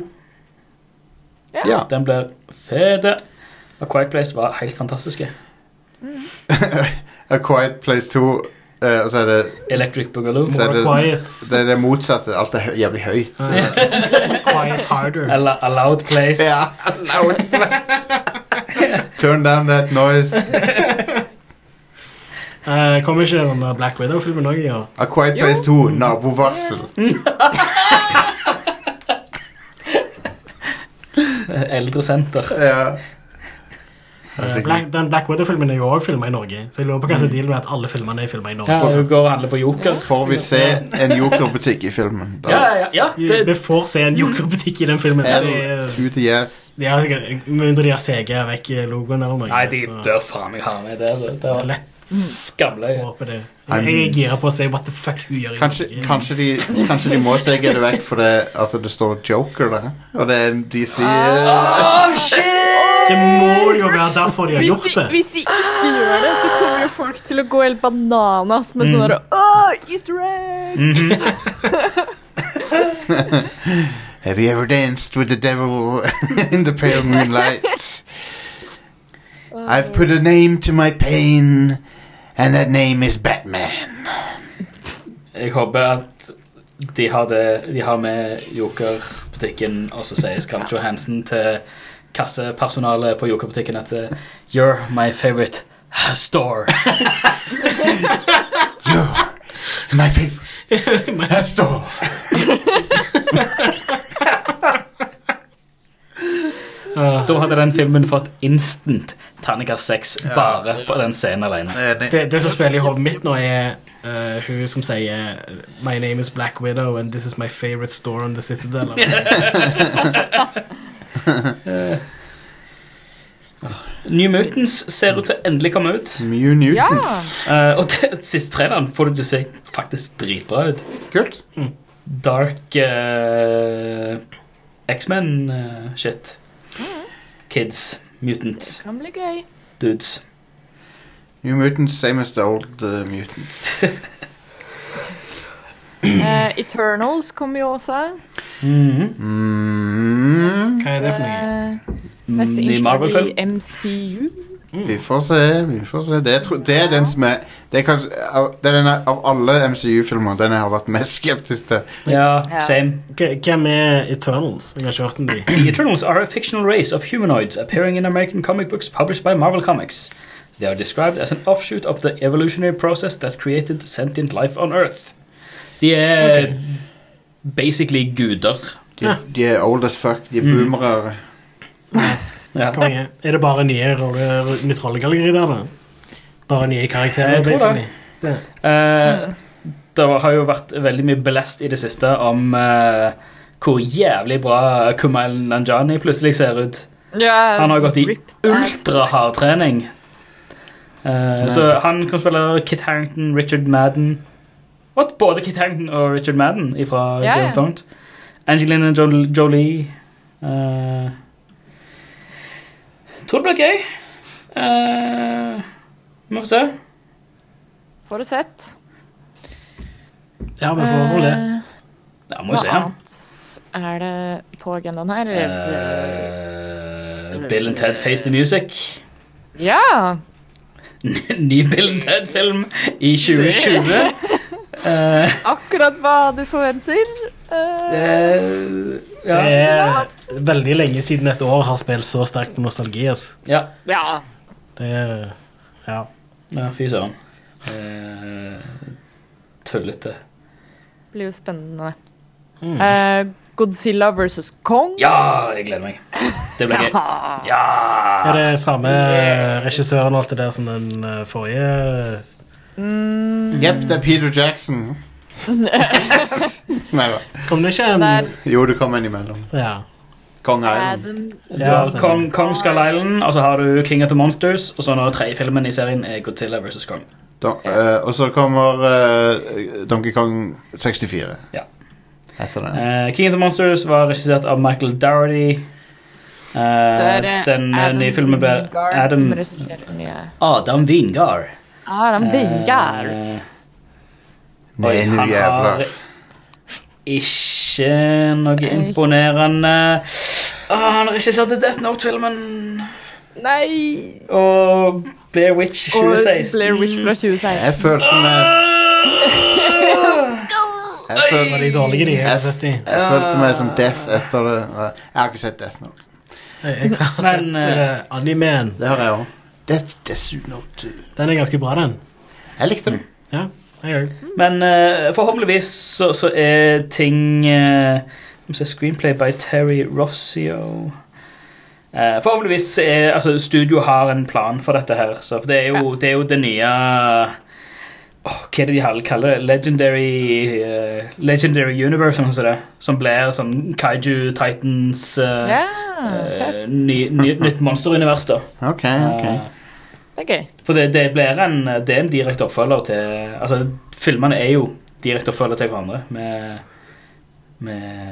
Ja.
Den blir fede. Og Quiet Place var helt fantastiske.
A Quiet Place 2, eh, og så er det
Electric Boogaloo.
Så er
More
det-
quiet.
det, er det motsatte. Alt er hø jævlig høyt.
Eh, quiet harder.
Eller A Loud Place.
Ja, loud flex. Turn down that noise.
Eh, kommer ikke den der Black Widow-filmen òg i år? Eh,
A Quiet
Jo.
Place 2, nabovarsel.
Eldresenter.
Ja.
Eh, Black, den Black Widow-filmen er jo òg filma i Norge, så jeg lurer på hva som er dealen med at alle filmene er filma i Norge.
Ja, hun går og handler på Joker.
Får vi se en jokerbutikk i filmen? Da.
Ja, ja, ja.
Du-
Det,
Du får se en jokerbutikk i den filmen.
L
De,
to the yes.
de har sikkert, med mindre de har CG vekk logoen eller noe.
nei, de
så-
bør faen meg ha med det. Altså. Det var
Lett
skamløye.
håper det.
I'm-
Jeg er gira på å se what the fuck hun gjør i
Kanskje,
Norge.
kanskje, de, kanskje de må CG det vekk fordi at det står Joker der. Og det er en DC
Oh, shit!
Det må jo være derfor de har
Hvis
gjort
de,
det.
hvis de ikke gjør det, så kommer jo folk til å gå helt bananas
Mm.
med sånn derre Åh, easter egg!
Have you ever danced with the devil in the pale moonlight? I've put a name to my pain, and that name is Batman.
Jeg håper at de har, det, de har med Joker-butikken, og så sier Scarlett Johansen til kassepersonalet på Joker-butikken at eh, You're my favorite store.
You're my favorite. That's all.
Uh,
Da hadde den filmen fått instant terningkast 6 bare på den scenen alene.
det, det som spiller i hodet mitt nå, er eh, hun som sier My name is Black Widow, and this is my favorite store on the Citadel.
New Mutants ser ut til å endelig komme ut.
Mew Newtons.
Eh, og det, siste traileren får du til å se faktisk dritbra ut.
Kult.
Dark eh, X-Men-shit. Kids. Mutants.
Mm, Kan bli gøy.
Dudes.
New Mutants, same as the old uh, mutants.
Eh, Eternals kommer jo også.
Mm,
Hva er det for noe?
Eh, neste innslag
Ny Mm, Marvel-film.
i MCU.
vi
Mm.
får se, vi får se. Det, er tro, det er den som er Det er kanskje av, det er den er, av alle MCU-filmer den jeg har vært mest skeptisk til.
Ja,
Ja.
same.
Hva- Hvem er Eternals? Jeg har ikke hørt om de.
The Eternals are a fictional race of humanoids appearing in American comic books published by Marvel Comics. They are described as an offshoot of the evolutionary process that created sentient life on Earth. De er basically guder.
De, de er old as fuck. De er
Mm.
boomere.
Ja.
Konge. Er det bare nye rolle, nytt rollegalleri der, da? Bare nye karakterer?
Jeg tror det.
basically?
Eh,
Mm.
Det var- har jo vært veldig mye belest i det siste om eh, hvor jævlig bra Kumail Nanjani plutselig ser ut.
Ja,
Han har gått i
ripped ass.
ultrahard trening. Eh, så han kan spille Kit Harrington, Richard Madden What? Både Kit Harrington og Richard Madden fra
Ja,
Game
ja.
of Thrones. Angelina jo Jolie. eh, tror det blir gøy. Eh, vi får se.
Får du sett?
Ja, vi får vel det.
Eh,
Ja, må
Hva
jo se.
annet er det på agendaen her?
Eh, Bill and Ted Face the Music.
ja!
Ny Bill and Ted-film i 2020. Eh,
Akkurat hva du forventer. Eh,
ja.
Det er veldig lenge siden et år har spilt så sterkt på nostalgi. ass.
Ja.
ja.
Det er Ja.
ja, fy søren. Eh, Tullete.
Det blir jo spennende. Eh, Godzilla versus Kong.
Mm. Ja, jeg gleder meg. Det blir gøy.
Ah,
Er det samme regissøren og alt det der som den eh, forrige
Mm,
Jepp, det er Peter Jackson. Nei da.
Kom det ikke en
der
Jo, du kom innimellom.
Ja.
Kong
er
Island.
den
Du har
stemmer.
Kong, Kong Skull Island, og så har du King of the Monsters, og så nå tredje filmen i serien er Godzilla vs. Kong.
Da, eh, og så kommer eh, Donkey Kong 64.
Ja.
Heter den.
Eh, King of the Monsters var regissert av Michael Dougherty. Eh,
der er
den eh,
Adam
nye filmen ble
Wingard
Adam
som regisserte den nye. Ah,
Adam Wingard.
Adam Wingard.
Eh,
Nei,
Oi,
nå
han har
jævla.
ikke noe imponerende ah, Han har ikke sett Death Note-filmen
Nei!
og Blair Witch Mm.
Og
2016.
Blair Witch fra 2016.
Jeg følte meg Jeg følte
Det var de dårlige de jeg har sett i.
Jeg følte meg som Death etter det. Jeg har ikke sett Death Note.
Jeg har sett
Men, eh,
eh, animeen.
Det har jeg òg. Death, Death Note.
Den er ganske bra, den.
Jeg likte den.
Ja, jeg gjør det.
Men eh, forhåpentligvis så, så er ting eh, Skal vi se Screenplay by Terry Rossio. Eh, forhåpentligvis så er altså, studio har en plan for dette her. Så, for det er, jo, det er jo det nye åh, Hva er det de hall- kaller det? Legendary, eh, Legendary Universe, eller noe sånt. der, Som blir sånn Kaiju Titans eh,
Ja,
eh,
fett.
ny, ny, Nytt monsterunivers, da.
Ok, ok.
Eh,
Det er gøy.
for det, det blir en, det er en direkte oppfølger til Altså, filmene er jo direkte oppfølger til hverandre med, med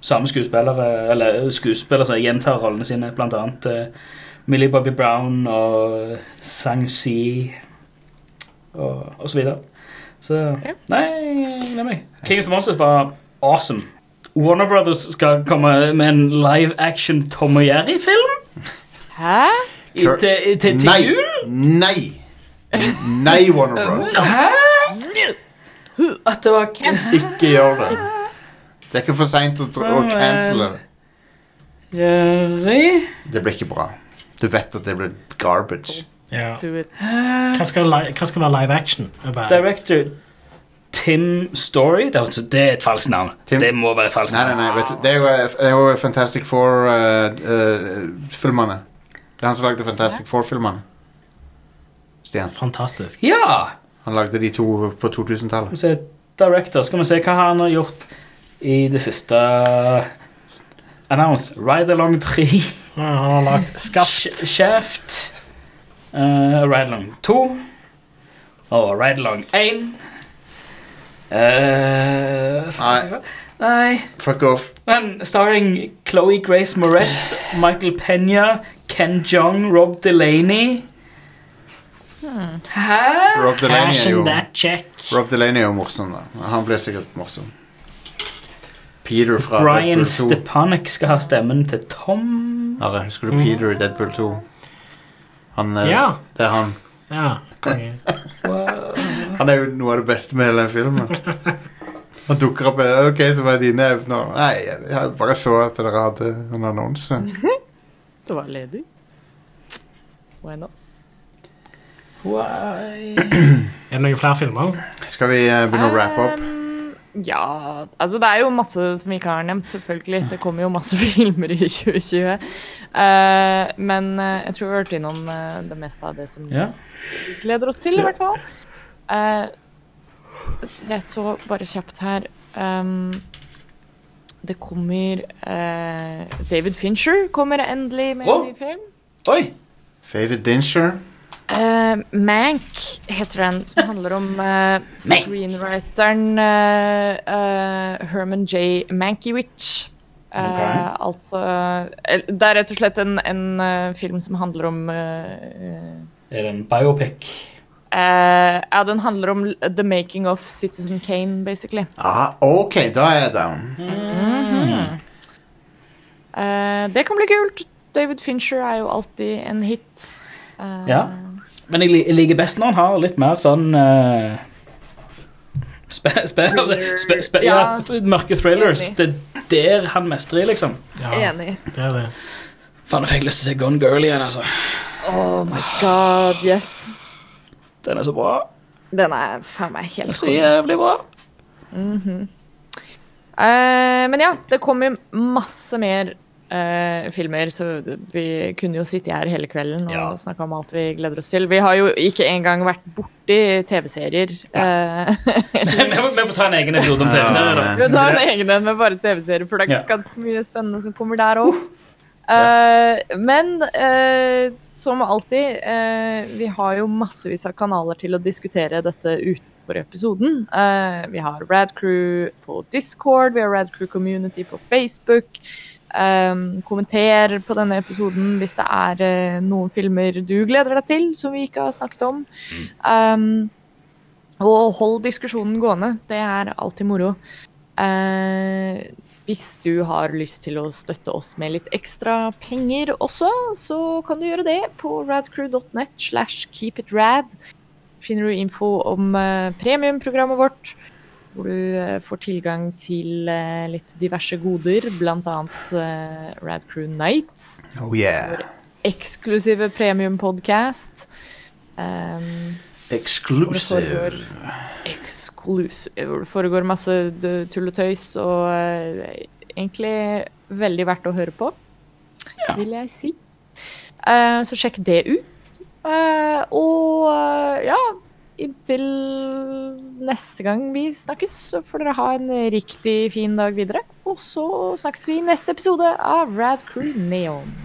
samme skuespillere, eller skuespillere som gjentar rollene sine, blant annet eh, Millie Bobby Brown og Sang Si og, og så videre. Så
Ja.
Nei, jeg gleder meg. King of the Monsters var awesome. Warner Brothers skal komme med en live action Tom og Jerry-film
Hæ?
i- til, til, til
Nei!
jul.
Nei! Nei, Warner Bros.
Hæ? At det var
Ikke gjør det. Det er ikke for seint å, å cancele det.
Jerry?
Det blir ikke bra. Du vet at det blir garbage.
Ja.
Do it.
Hva, skal, li- hva skal være live action? Er bare-
Director Tim Story. Det er, altså- det er et falskt navn.
Tim-
Det må være et falskt
Nei, nei,
navn.
nei. Vet du, det er jo, det er jo Fantastic eh, Four-filmene. det er han som lagde Fantastic Four-filmene. Stian.
Fantastisk.
Ja!
Han lagde de to på 2000-tallet.
Skal vi se, director. Skal vi se hva han har gjort i det siste Announced. Ride Along 3.
Ja, Han har lagd Skaft.
Sh- Shaft. eh, Ride Along 2. Og Ride Along 1. Eh,
Nei.
Nei.
Fuck off.
Men starring Chloe Grace Moretz, Michael Pena, Ken Jeong, Rob Delaney Hæ?
Rob Delaney
Cash
er
in
jo
that check.
Rob Delaney er jo morsom, da. Han blir sikkert morsom. Peter fra
Brian
Deadpool 2.
Stepanek skal ha stemmen til Tom.
Are, husker du Peter i Deadpool 2? Han, eh,
Ja.
Det er han.
Ja, konge.
Han er jo noe av det beste med hele den filmen. Han dukker opp med OK, så hva er dine evner? Nei, jeg jeg bare så at dere hadde en annonse.
Det var ledig. Why not?
Er det noen flere filmer?
Skal vi eh, begynne å wrap opp?
Um, ja Altså, det er jo masse som vi ikke har nevnt, selvfølgelig. Det kommer jo masse filmer i 2020. Eh, men eh, jeg tror vi har vært innom eh, det meste av det som
Ja.
vi gleder oss til, i hvert fall. Eh, jeg så bare kjapt her um, Det kommer eh, David Fincher kommer endelig med
Å!
en ny film.
Oi!
Favid Dinsher.
Eh, Mank heter den, som handler om eh,
Mank.
screenwriteren eh, eh, Herman J. Mankiewicz. Eh,
Ok.
Altså el- Det er rett og slett en, en eh, film som handler om eh,
Er det en biopic?
eh, Ja, den handler om l- the making of Citizen Kane, basically.
Ah, OK, da er jeg down.
Mm.
Eh, det kan bli kult. David Fincher er jo alltid en hit. Eh,
Ja. Men jeg, li- jeg liker best når han har litt mer sånn eh, spe, spe,
Thriller.
spe, spe,
Ja.
ja, mørke thrillers.
Enig.
Det er der han mestrer, liksom.
Ja,
Enig.
det er det.
Faen, jeg fikk lyst til å se Gone Girl igjen, altså.
Oh my god, yes.
Den er så bra.
Den er faen meg helt Mhm.
Så jævlig bra.
Eh, men ja, det kommer jo masse mer eh, filmer, så vi kunne jo sitte her hele kvelden og
Ja.
snakke om alt vi gleder oss til. Vi har jo ikke engang vært borti TV-serier. Eh,
vi, får, vi får ta en egen episode om TV-serier, da.
vi tar en egen en med bare TV-serier, for det er
Ja.
ganske mye spennende som kommer der òg. men eh, som alltid, eh, vi har jo massevis av kanaler til å diskutere dette utenfor episoden. Eh, vi har Rad Crew på Discord, vi har Rad Crew Community på Facebook. Um, kommenter på denne episoden hvis det er eh, noen filmer du gleder deg til som vi ikke har snakket om. Um, og hold diskusjonen gående. Det er alltid moro. Eh, hvis du har lyst til å støtte oss med litt ekstra penger også, så kan du gjøre det på radcrew.net slash keepitrad. Finner du info om eh, premiumprogrammet vårt, hvor du eh, får tilgang til eh, litt diverse goder, bl.a. Uh, Radcrew Nights
Oh yeah.
eksklusive premiumpodkast. Um,
Exclusive.
eksklusiv Hvor det foregår masse d- tull og tøys, og eh, egentlig veldig verdt å høre på,
Ja.
vil jeg si. Eh, så sjekk det ut. Eh, og eh, ja, inntil neste gang vi snakkes, så får dere ha en riktig fin dag videre. Og så snakkes vi i neste episode av Rad Crew Neon.